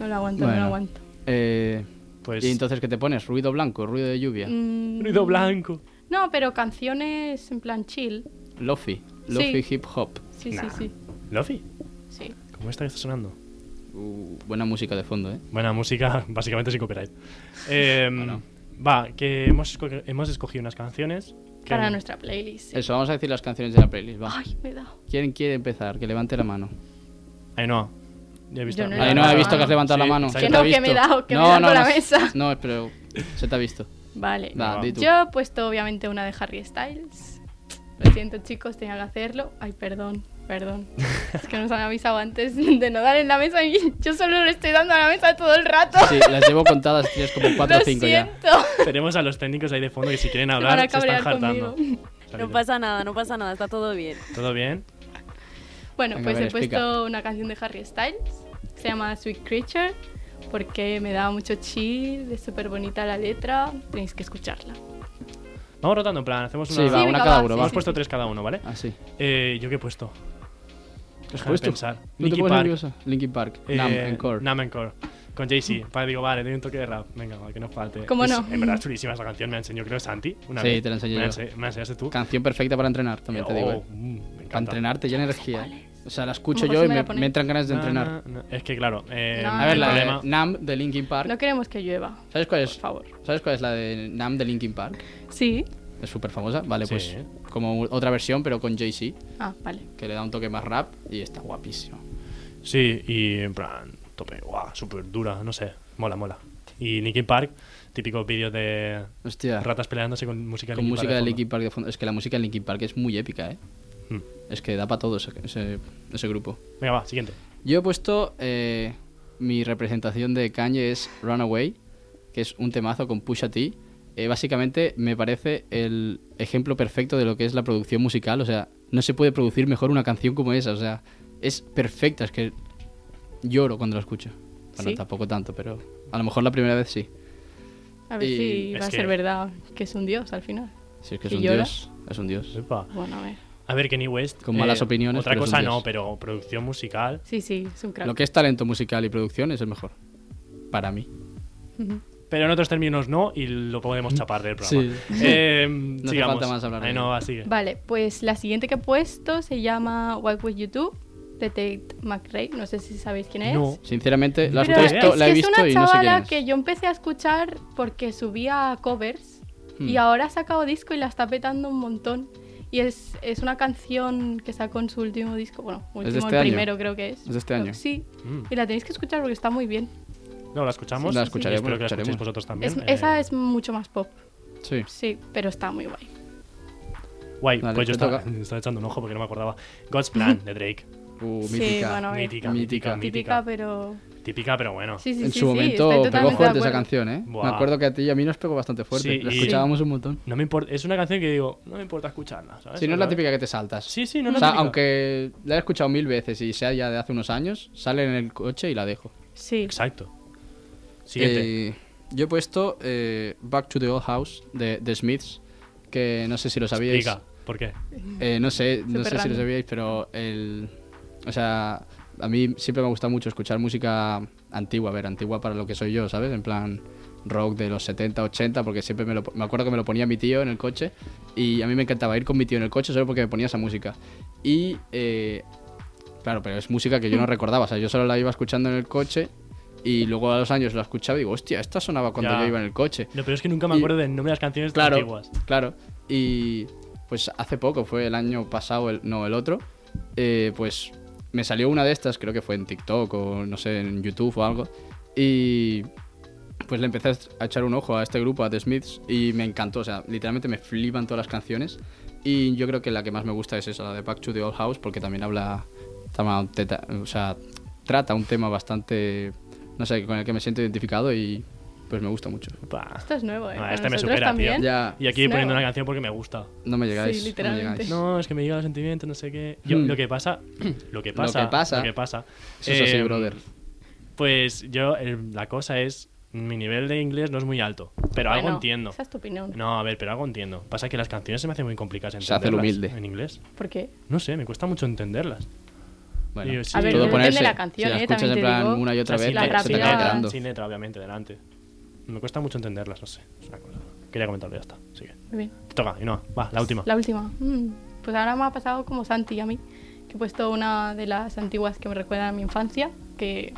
Speaker 4: No lo aguanto, no
Speaker 5: Bueno.
Speaker 4: lo aguanto.
Speaker 5: Eh,
Speaker 3: Pues.
Speaker 5: ¿Y entonces qué te pones? ¿Ruido blanco? ¿Ruido de lluvia?
Speaker 4: Mm,
Speaker 3: Ruido blanco.
Speaker 4: No, pero canciones en plan chill.
Speaker 5: Lofi. Lofi hip hop.
Speaker 4: Sí,
Speaker 3: Nah.
Speaker 4: sí,
Speaker 3: Lofi,
Speaker 4: sí, sí.
Speaker 3: ¿cómo está que está sonando?
Speaker 5: Uh, buena música de fondo, ¿eh?
Speaker 3: Buena música, básicamente sin copyright. Eh,
Speaker 5: Bueno.
Speaker 3: Va, que hemos, esco- hemos escogido unas canciones. que-
Speaker 4: Para nuestra playlist. sí.
Speaker 5: Eso, vamos a decir las canciones de la playlist. Va.
Speaker 4: Ay, me da.
Speaker 5: ¿Quién quiere empezar? Que levante la mano.
Speaker 3: Ainhoa. Ya he visto.
Speaker 4: Yo no he
Speaker 5: Ahí no
Speaker 4: levantado
Speaker 5: he
Speaker 4: la
Speaker 5: visto que has
Speaker 4: mano.
Speaker 5: levantado
Speaker 3: Sí,
Speaker 5: la mano.
Speaker 3: se
Speaker 5: Se
Speaker 3: ha
Speaker 5: te
Speaker 4: Que no,
Speaker 5: ha
Speaker 4: que me he
Speaker 5: visto.
Speaker 4: dado- que me he dado con la
Speaker 5: se-
Speaker 4: mesa.
Speaker 5: No, pero se te ha visto.
Speaker 4: Vale.
Speaker 5: Va, di tú.
Speaker 4: Yo he puesto obviamente una de Harry Styles. Lo siento chicos, tenía que hacerlo. Ay, perdón, perdón. Es que nos han avisado antes de no dar en la mesa y yo solo le estoy dando a la mesa todo el rato.
Speaker 5: Sí, las llevo contadas, tienes como 4 o
Speaker 4: Lo
Speaker 5: 5 ya.
Speaker 4: siento.
Speaker 3: Tenemos a los técnicos ahí de fondo que si quieren
Speaker 4: Se
Speaker 3: hablar
Speaker 4: van a
Speaker 3: se, están
Speaker 4: cabrear
Speaker 3: hartando.
Speaker 4: conmigo.
Speaker 3: Tranquilo.
Speaker 6: No pasa nada, no pasa nada, está todo bien.
Speaker 3: ¿Todo bien?
Speaker 4: Bueno,
Speaker 5: Venga,
Speaker 4: pues
Speaker 5: a ver,
Speaker 4: he puesto
Speaker 5: explica.
Speaker 4: una canción de Harry Styles que se llama Sweet Creature porque me da mucho chill, es súper bonita la letra, tenéis que escucharla.
Speaker 3: Vamos rotando, en plan, hacemos una...
Speaker 5: Sí, va,
Speaker 4: venga,
Speaker 5: una
Speaker 4: va,
Speaker 5: cada
Speaker 4: sí,
Speaker 5: uno, va. Pues Ah.
Speaker 4: sí,
Speaker 3: Hemos puesto tres cada uno, ¿vale?
Speaker 5: Así.
Speaker 3: Eh, ¿Yo qué he puesto?
Speaker 5: ¿Has
Speaker 3: Déjame
Speaker 5: puesto?
Speaker 3: pensar.
Speaker 5: Pues ¿No te
Speaker 3: Linkin
Speaker 5: pones
Speaker 3: Park.
Speaker 5: nerviosa? Linkin Park.
Speaker 3: Eh,
Speaker 5: Nam, Encore.
Speaker 3: Nam Encore. Con Jay-Z. Para digo, vale, doy un toque de rap. Venga, va, que no falte.
Speaker 4: ¿Cómo
Speaker 3: Es-
Speaker 4: no?
Speaker 3: En verdad es chulísima esa canción. Me la enseñó, creo, Santi. Una
Speaker 5: Sí,
Speaker 3: vez.
Speaker 5: te la enseñé
Speaker 3: me
Speaker 5: yo.
Speaker 3: ense- me la enseñaste tú.
Speaker 5: Canción perfecta para entrenar, también te digo.
Speaker 3: Oh,
Speaker 5: eh.
Speaker 3: mm, me encanta.
Speaker 5: Para entrenarte, llena energía. eh. O sea, la escucho
Speaker 4: Mejor
Speaker 5: yo
Speaker 4: si me
Speaker 5: y me,
Speaker 4: la Ah, pones.
Speaker 5: me entran ganas de
Speaker 3: Na,
Speaker 5: entrenar.
Speaker 3: na, na. Es que, claro. eh,
Speaker 4: No.
Speaker 5: A ver,
Speaker 3: el
Speaker 5: la
Speaker 3: problema-
Speaker 5: de Nam de Linkin Park.
Speaker 4: No queremos que llueva,
Speaker 5: ¿Sabes cuál es?
Speaker 4: por favor.
Speaker 5: ¿Sabes cuál es la de Nam de Linkin Park?
Speaker 4: Sí.
Speaker 5: Es súper famosa. Vale,
Speaker 3: Sí.
Speaker 5: pues como otra versión, pero con Jay-Z,
Speaker 4: Ah, vale.
Speaker 5: que le da un toque más rap y está guapísimo.
Speaker 3: Sí, y en plan, tope, guau, súper dura, no sé. Mola, mola. Y Linkin Park, típicos vídeos de
Speaker 5: Hostia.
Speaker 3: ratas peleándose con música de
Speaker 5: con
Speaker 3: Linkin
Speaker 5: música
Speaker 3: Park
Speaker 5: de
Speaker 3: de
Speaker 5: Linkin Park de fondo. Es que la música de Linkin Park es muy épica, ¿eh?
Speaker 3: Hmm.
Speaker 5: Es que da para todo ese, ese- ese grupo.
Speaker 3: fondo. Venga, va, siguiente.
Speaker 5: Yo he puesto eh, mi representación de Kanye es Runaway, que es un temazo con Pusha T. Eh, básicamente me parece el ejemplo perfecto de lo que es la producción musical. O sea, no se puede producir mejor una canción como esa. O sea, es perfecta. Es que lloro cuando la escucho. Bueno,
Speaker 4: ¿Sí?
Speaker 5: tampoco tanto, pero a lo mejor la primera vez sí.
Speaker 4: A ver
Speaker 5: Y
Speaker 4: si
Speaker 3: es
Speaker 4: va a
Speaker 3: que-
Speaker 4: ser verdad que es un dios al final.
Speaker 5: Si es que es
Speaker 4: ¿Y
Speaker 5: un
Speaker 4: llora?
Speaker 5: dios. Es un dios.
Speaker 3: Epa.
Speaker 4: Bueno, a ver.
Speaker 3: A ver, Kenny West. eh,
Speaker 5: Con malas opiniones,
Speaker 3: Otra
Speaker 5: pero es un
Speaker 3: cosa
Speaker 5: dios.
Speaker 3: no, pero producción musical.
Speaker 4: Sí, sí, es un crack.
Speaker 5: Lo que es talento musical y producción es el mejor. Para mí.
Speaker 4: Ujú.
Speaker 3: Pero en otros términos no, y lo podemos chapar del programa.
Speaker 5: Mm. Sí.
Speaker 3: Eh,
Speaker 5: hace
Speaker 3: sigamos.
Speaker 5: falta más hablar de
Speaker 3: Ahí no
Speaker 5: ello.
Speaker 3: va, sigue.
Speaker 4: Vale, pues la siguiente que he puesto se llama What Would You Do de Tate McRae. No sé si sabéis quién es.
Speaker 3: No.
Speaker 5: Sinceramente, la has
Speaker 4: Pero
Speaker 5: puesto,
Speaker 4: es que
Speaker 5: la he
Speaker 4: es
Speaker 5: visto
Speaker 4: una
Speaker 5: y no sé quién
Speaker 4: chavala
Speaker 5: es.
Speaker 4: que yo empecé a escuchar porque subía covers
Speaker 5: Hmm.
Speaker 4: y ahora ha sacado disco y la está petando un montón. Y es, es una canción que sacó en su último disco, bueno, último,
Speaker 5: de este
Speaker 4: el
Speaker 5: año?
Speaker 4: primero creo que es.
Speaker 5: ¿Es de este año?
Speaker 4: Sí,
Speaker 3: Mm.
Speaker 4: y la tenéis que escuchar porque está muy bien.
Speaker 3: No, la escuchamos.
Speaker 5: La escucharemos,
Speaker 3: Espero que la
Speaker 5: la
Speaker 3: escuchéis
Speaker 5: escucharemos.
Speaker 3: vosotros también.
Speaker 4: Es-
Speaker 3: Eh,
Speaker 4: Esa es mucho más pop,
Speaker 5: Sí.
Speaker 4: sí, pero está muy guay.
Speaker 3: Guay,
Speaker 5: Vale,
Speaker 3: pues yo
Speaker 5: te
Speaker 3: estaba,
Speaker 5: toca.
Speaker 3: estaba echando un ojo porque no me acordaba. God's Plan de Drake.
Speaker 5: Uh,
Speaker 4: Sí,
Speaker 5: mítica.
Speaker 4: bueno, A ver.
Speaker 3: Mítica, mítica,
Speaker 5: Mítica.
Speaker 3: mítica. Ah.
Speaker 4: Típica, pero...
Speaker 3: Típica, pero bueno.
Speaker 4: Sí, sí,
Speaker 5: en
Speaker 4: sí, sí,
Speaker 5: su momento
Speaker 4: estoy
Speaker 5: pegó
Speaker 4: totalmente de
Speaker 5: fuerte esa
Speaker 4: acuerdo.
Speaker 5: canción, ¿eh?
Speaker 3: Buah.
Speaker 5: Me acuerdo que a ti y a mí nos pegó bastante fuerte.
Speaker 3: Sí,
Speaker 5: la
Speaker 3: y-
Speaker 5: escuchábamos un montón.
Speaker 3: No me importa, es una canción que digo, no me importa escucharla, ¿sabes?
Speaker 5: Si no es la
Speaker 3: Pero-
Speaker 5: típica que te saltas.
Speaker 3: Ah, Sí, sí, no es la
Speaker 5: o sea,
Speaker 3: típica.
Speaker 5: aunque la he escuchado mil veces y sea ya de hace unos años, sale en el coche y la dejo.
Speaker 4: Sí,
Speaker 3: Exacto. Siguiente.
Speaker 5: Eh, yo he puesto eh, Back to the Old House de The Smiths, que no sé si lo sabíais.
Speaker 3: Explica, ¿por qué?
Speaker 5: Eh, no sé, no
Speaker 4: Súper
Speaker 5: sé si lo
Speaker 4: random.
Speaker 5: sabíais, pero el. O sea, a mí siempre me ha gustado mucho escuchar música antigua, a ver, antigua para lo que soy yo, ¿sabes? En plan rock de los 70, 80, porque siempre me, lo- me acuerdo que me lo ponía mi tío en el coche y a mí me encantaba ir con mi tío en el coche solo porque me ponía esa música. Y, eh, claro, pero es música que yo no recordaba, o sea, yo solo la iba escuchando en el coche y luego a los años la escuchaba y digo, hostia, esta sonaba cuando
Speaker 3: Ya.
Speaker 5: yo iba en el coche.
Speaker 3: Lo peor es que nunca me
Speaker 5: Y-
Speaker 3: acuerdo del nombre de las canciones
Speaker 5: Claro,
Speaker 3: antiguas.
Speaker 5: claro. Y pues hace poco, fue el año pasado, el, no, el otro, eh, pues me salió una de estas, creo que fue en TikTok o no sé, en YouTube o algo. Y pues le empecé a est- a echar un ojo a este grupo, a The Smiths, y me encantó. O sea, literalmente me flipan todas las canciones. Y yo creo que la que más me gusta es esa, la de Back to the Old House, porque también habla, tama- teta- o sea, trata un tema bastante, no sé, con el que me siento identificado y pues me gusta mucho.
Speaker 3: Pa.
Speaker 4: esto es nuevo, ¿eh?
Speaker 3: Ah,
Speaker 4: Para
Speaker 3: este me
Speaker 4: nosotros
Speaker 3: supera, tío.
Speaker 4: también.
Speaker 5: Ya
Speaker 3: Y aquí
Speaker 4: Nuevo.
Speaker 3: poniendo una canción porque me gusta.
Speaker 5: no me llegáis.
Speaker 4: Sí,
Speaker 5: no me
Speaker 4: literalmente.
Speaker 5: llegáis.
Speaker 3: No, es que me llega el sentimiento, no sé qué. Yo,
Speaker 5: Hmm.
Speaker 3: lo que pasa, lo que pasa,
Speaker 5: que pasa.
Speaker 3: lo que pasa,
Speaker 5: Eso es así,
Speaker 3: eh,
Speaker 5: brother.
Speaker 3: Pues yo, el- la cosa es, mi nivel de inglés no es muy alto, pero algo
Speaker 4: Bueno,
Speaker 3: entiendo.
Speaker 4: Esa es tu opinión.
Speaker 3: No, a ver, pero algo entiendo. Pasa que las canciones se me hacen muy complicadas
Speaker 5: Se hace lo
Speaker 3: entenderlas
Speaker 5: humilde.
Speaker 3: en inglés.
Speaker 4: ¿Por qué?
Speaker 3: No sé, me cuesta mucho entenderlas.
Speaker 5: Bueno,
Speaker 3: Digo, sí.
Speaker 4: A ver,
Speaker 5: todo
Speaker 4: depende
Speaker 5: ponerse.
Speaker 4: de la canción,
Speaker 5: si la
Speaker 4: ¿eh?
Speaker 5: escuchas
Speaker 4: También
Speaker 5: en
Speaker 4: te
Speaker 5: plan
Speaker 4: digo.
Speaker 5: una y otra
Speaker 3: O sea,
Speaker 5: vez,
Speaker 4: la
Speaker 5: se te acaba
Speaker 4: rápida-
Speaker 5: quedando.
Speaker 3: sin letra, obviamente, delante. Me cuesta mucho entenderlas, no sé. Es una cosa. Quería comentarlo, ya está. Sigue.
Speaker 4: Muy bien.
Speaker 3: Te toca, y no, va, la última.
Speaker 4: La última. Mm, Pues ahora me ha pasado como Santi y a mí, que he puesto una de las antiguas que me recuerdan a mi infancia, que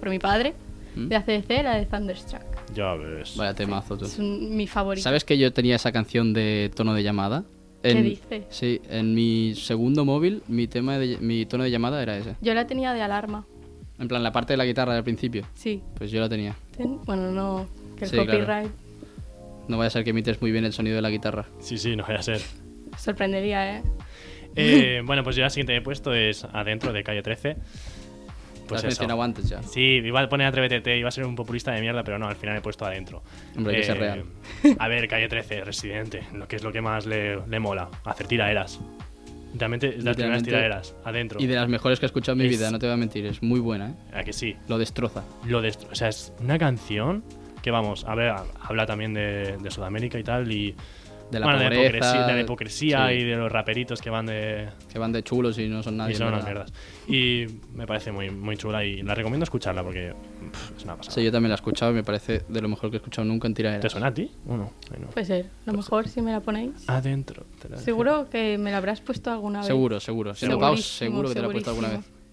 Speaker 4: por mi padre,
Speaker 5: ¿Mm?
Speaker 4: de ACDC, la de Thunderstruck.
Speaker 3: Ya ves.
Speaker 5: Vaya temazo tú.
Speaker 4: Es un- mi favorita.
Speaker 5: ¿Sabes que yo tenía esa canción de tono de llamada?
Speaker 4: ¿Qué
Speaker 5: En-
Speaker 4: dices?
Speaker 5: Sí, en mi segundo móvil mi tema de, mi tono de llamada era ese.
Speaker 4: Yo la tenía de alarma,
Speaker 5: En plan la parte de la guitarra del principio.
Speaker 4: sí.
Speaker 5: Pues yo la tenía.
Speaker 4: Ten- Bueno, no, que el
Speaker 5: Sí, claro.
Speaker 4: copyright.
Speaker 5: No vaya a ser que imites muy bien el sonido de la guitarra.
Speaker 3: Sí, sí, no vaya a ser.
Speaker 4: Sorprendería, ¿eh?
Speaker 3: Eh, bueno, pues yo la siguiente que he puesto es Adentro de Calle 13.
Speaker 5: Pues
Speaker 3: Pues
Speaker 5: Las
Speaker 3: eso.
Speaker 5: mencionado antes ya.
Speaker 3: Sí, iba a poner Atrévete, T, iba a ser un populista de mierda, pero no, al final he puesto adentro. Eh,
Speaker 5: Hombre, hay que ser real.
Speaker 3: A ver, calle 13, residente, lo que es lo que más le, le mola, hacer tiraderas. Realmente, es de las primeras
Speaker 5: Literalmente.
Speaker 3: tiraderas, adentro.
Speaker 5: Y de las mejores que he escuchado en mi
Speaker 3: Es-
Speaker 5: vida, no te voy a mentir, es muy buena, ¿eh?
Speaker 3: ¿A que sí?
Speaker 5: Lo destroza.
Speaker 3: Lo de, o sea, es una canción que, vamos, a ver, habla también de, de Sudamérica y tal, y.
Speaker 5: De la
Speaker 3: bueno,
Speaker 5: pobreza.
Speaker 3: de la hipocresía, de la hipocresía
Speaker 5: sí,
Speaker 3: y de los raperitos que van de.
Speaker 5: Que van de chulos y no son nadie.
Speaker 3: y son
Speaker 5: en
Speaker 3: unas
Speaker 5: verdad.
Speaker 3: mierdas. Y me parece muy, muy chula y la recomiendo escucharla porque pff, es una pasada.
Speaker 5: Sí, yo también la he escuchado y me parece de lo mejor que he escuchado nunca en tiraderas.
Speaker 3: ¿Te suena a ti? ¿O no? Ay, no.
Speaker 4: Puede ser. A lo
Speaker 5: Pues
Speaker 4: mejor si me la ponéis.
Speaker 3: Adentro. te la dejo.
Speaker 4: Pues Seguro que me la habrás puesto alguna vez.
Speaker 5: Seguro, seguro. Si no,
Speaker 4: Segurísimo,
Speaker 5: Paus, seguro que te la he puesto alguna vez.
Speaker 4: segurísimo.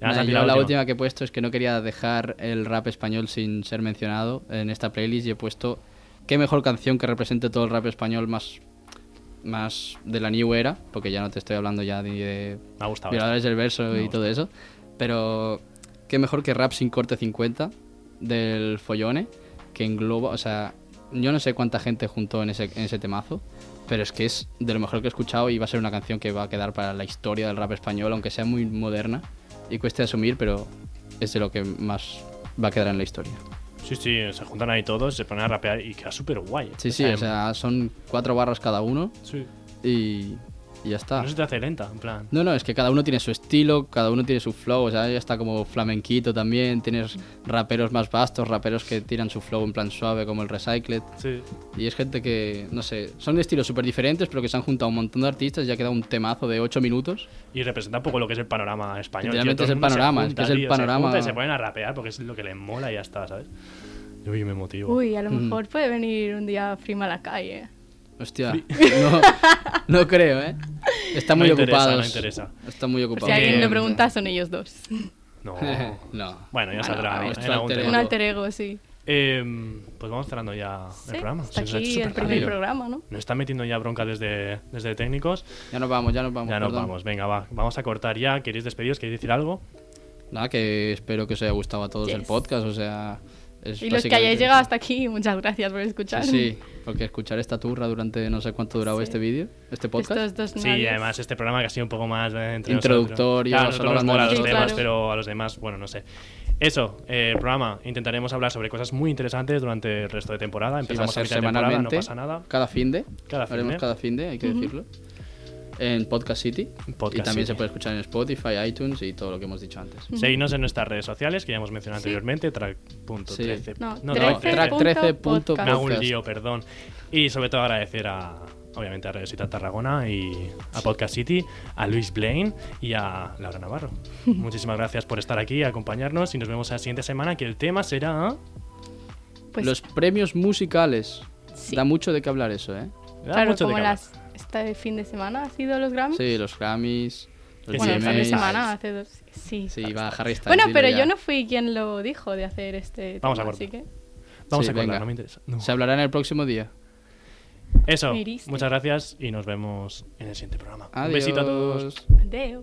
Speaker 3: Ya has
Speaker 5: Nada, yo
Speaker 3: apilado
Speaker 5: la última. que he puesto es que no quería dejar el rap español sin ser mencionado en esta playlist y he puesto qué mejor canción que represente todo el rap español más, más de la new era, porque ya no te estoy hablando ya ni de
Speaker 3: Me ha gustado.
Speaker 5: violadores del verso
Speaker 3: Me
Speaker 5: y todo eso, pero qué mejor que rap sin corte 50 del Follone, que engloba, o sea, yo no sé cuánta gente juntó en ese, en ese temazo. Pero es que es de lo mejor que he escuchado y va a ser una canción que va a quedar para la historia del rap español, aunque sea muy moderna y cueste asumir, pero es de lo que más va a quedar en la historia.
Speaker 3: Sí, sí, se juntan ahí todos, se ponen a rapear y queda súper guay.
Speaker 5: Sí, em. sí, o sea, son cuatro barras cada uno
Speaker 3: sí.
Speaker 5: y, y ya está.
Speaker 3: No se te hace lenta, en plan.
Speaker 5: No, no, es que cada uno tiene su estilo, cada uno tiene su flow, o sea, ya está como flamenquito también, tienes raperos más vastos, raperos que tiran su flow en plan suave como el Recycled,
Speaker 3: Sí.
Speaker 5: y es gente que, no sé, son de estilos súper diferentes, pero que se han juntado un montón de artistas y ya queda un temazo de 8 minutos.
Speaker 3: Y representa un poco lo que es el panorama español.
Speaker 5: Literalmente
Speaker 3: tío, todo
Speaker 5: es el
Speaker 3: mundo se
Speaker 5: panorama, es que es el
Speaker 3: tío,
Speaker 5: panorama.
Speaker 3: Se, junta y se ponen a rapear porque es lo que les mola y ya está, ¿sabes? Yo me motivo.
Speaker 4: Uy, a
Speaker 5: Mm.
Speaker 4: lo mejor puede venir un día ¿eh? Frima a la calle.
Speaker 5: Hostia, no, no creo, ¿eh? Están
Speaker 3: No
Speaker 5: muy
Speaker 3: interesa,
Speaker 5: ocupados.
Speaker 3: no interesa.
Speaker 5: Están muy ocupados.
Speaker 4: Si alguien
Speaker 5: le
Speaker 4: lo pregunta, son ellos dos.
Speaker 3: No.
Speaker 5: no.
Speaker 3: Bueno, ya
Speaker 5: Ah,
Speaker 3: saldrá.
Speaker 5: no,
Speaker 3: ¿eh? en- en
Speaker 5: vuestro
Speaker 3: algún
Speaker 5: alter
Speaker 3: tema.
Speaker 4: Un alter ego, sí.
Speaker 3: Eh, pues vamos cerrando ya el
Speaker 4: Sí,
Speaker 3: programa.
Speaker 4: Hasta
Speaker 3: Se nos ha hecho
Speaker 4: aquí el
Speaker 3: súper
Speaker 4: primer
Speaker 3: rápido.
Speaker 4: programa, ¿no?
Speaker 3: Nos están metiendo ya bronca desde, desde técnicos.
Speaker 5: Ya nos vamos, ya nos vamos.
Speaker 3: ya nos
Speaker 5: perdón.
Speaker 3: vamos. Venga, va. Vamos a cortar ya. ¿Queréis despediros? ¿Queréis decir algo?
Speaker 5: Nada, que espero que os haya gustado a todos el
Speaker 4: Yes.
Speaker 5: podcast, o sea...
Speaker 4: Y
Speaker 5: es
Speaker 4: los que
Speaker 5: básicamente-
Speaker 4: hayáis llegado hasta aquí, muchas gracias por escuchar.
Speaker 5: Sí, sí, porque escuchar esta turra durante no sé cuánto duraba
Speaker 4: Sí.
Speaker 5: este vídeo, este podcast.
Speaker 4: Estos dos
Speaker 3: Sí,
Speaker 4: nadies.
Speaker 3: además este programa que ha sido un poco más eh, entre
Speaker 5: Introductorio,
Speaker 3: nosotros. Claro, a
Speaker 5: solo
Speaker 3: nosotros nos
Speaker 5: hablando
Speaker 3: mola
Speaker 5: de
Speaker 3: los
Speaker 4: nosotros.
Speaker 3: temas,
Speaker 4: Claro.
Speaker 3: pero a los demás, bueno, no sé. Eso, eh, el programa, intentaremos hablar sobre cosas muy interesantes durante el resto de temporada.
Speaker 5: Sí, va a
Speaker 3: Empezamos a
Speaker 5: ser
Speaker 3: mitad de temporada, no
Speaker 5: semanalmente.
Speaker 3: pasa nada.
Speaker 5: Cada fin de.
Speaker 3: Cada fin
Speaker 5: Haremos
Speaker 3: de.
Speaker 5: cada fin de, hay que decirlo. En Podcast City.
Speaker 3: Podcast
Speaker 5: y también
Speaker 3: City.
Speaker 5: se puede escuchar en Spotify, iTunes y todo lo que hemos dicho antes.
Speaker 4: Mm,
Speaker 3: Seguidnos en nuestras redes sociales que ya hemos mencionado anteriormente,
Speaker 5: Sí.
Speaker 3: track.13.
Speaker 4: No,
Speaker 3: no,
Speaker 5: no,
Speaker 4: 13.
Speaker 5: track 13 punto
Speaker 4: Podcast.
Speaker 3: Me hago un
Speaker 5: podcast.
Speaker 3: lío, perdón. Y sobre todo agradecer a, obviamente, a Radio Ciudad Tarragona y a Podcast City, a Luis Blaine y a Laura Navarro. Muchísimas gracias por estar aquí, acompañarnos y nos vemos la siguiente semana que el tema será... ¿eh?
Speaker 4: Pues,
Speaker 5: Los premios musicales.
Speaker 4: Sí.
Speaker 5: Da mucho de qué hablar eso, ¿eh?
Speaker 3: da
Speaker 4: claro,
Speaker 3: mucho de
Speaker 4: como
Speaker 3: qué
Speaker 4: las, este fin de semana ha sido los Grammys.
Speaker 5: Sí, los Grammys. Los
Speaker 4: Bueno, el fin de
Speaker 5: GMAs.
Speaker 4: semana hace dos. Sí.
Speaker 5: Sí, va Harry Styles.
Speaker 4: Bueno,
Speaker 5: dilo
Speaker 4: pero
Speaker 5: ya.
Speaker 4: yo no fui quien lo dijo de hacer este.
Speaker 3: Vamos
Speaker 4: tema,
Speaker 3: a
Speaker 4: así que
Speaker 3: hablar. Vamos
Speaker 5: Sí,
Speaker 3: a acordar,
Speaker 5: venga.
Speaker 3: no me interesa. No.
Speaker 5: Se hablará en el próximo día.
Speaker 3: Eso,
Speaker 4: Me hiriste.
Speaker 3: muchas gracias y nos vemos en el siguiente programa.
Speaker 5: Adiós.
Speaker 3: Un besito a todos.
Speaker 4: Adeo.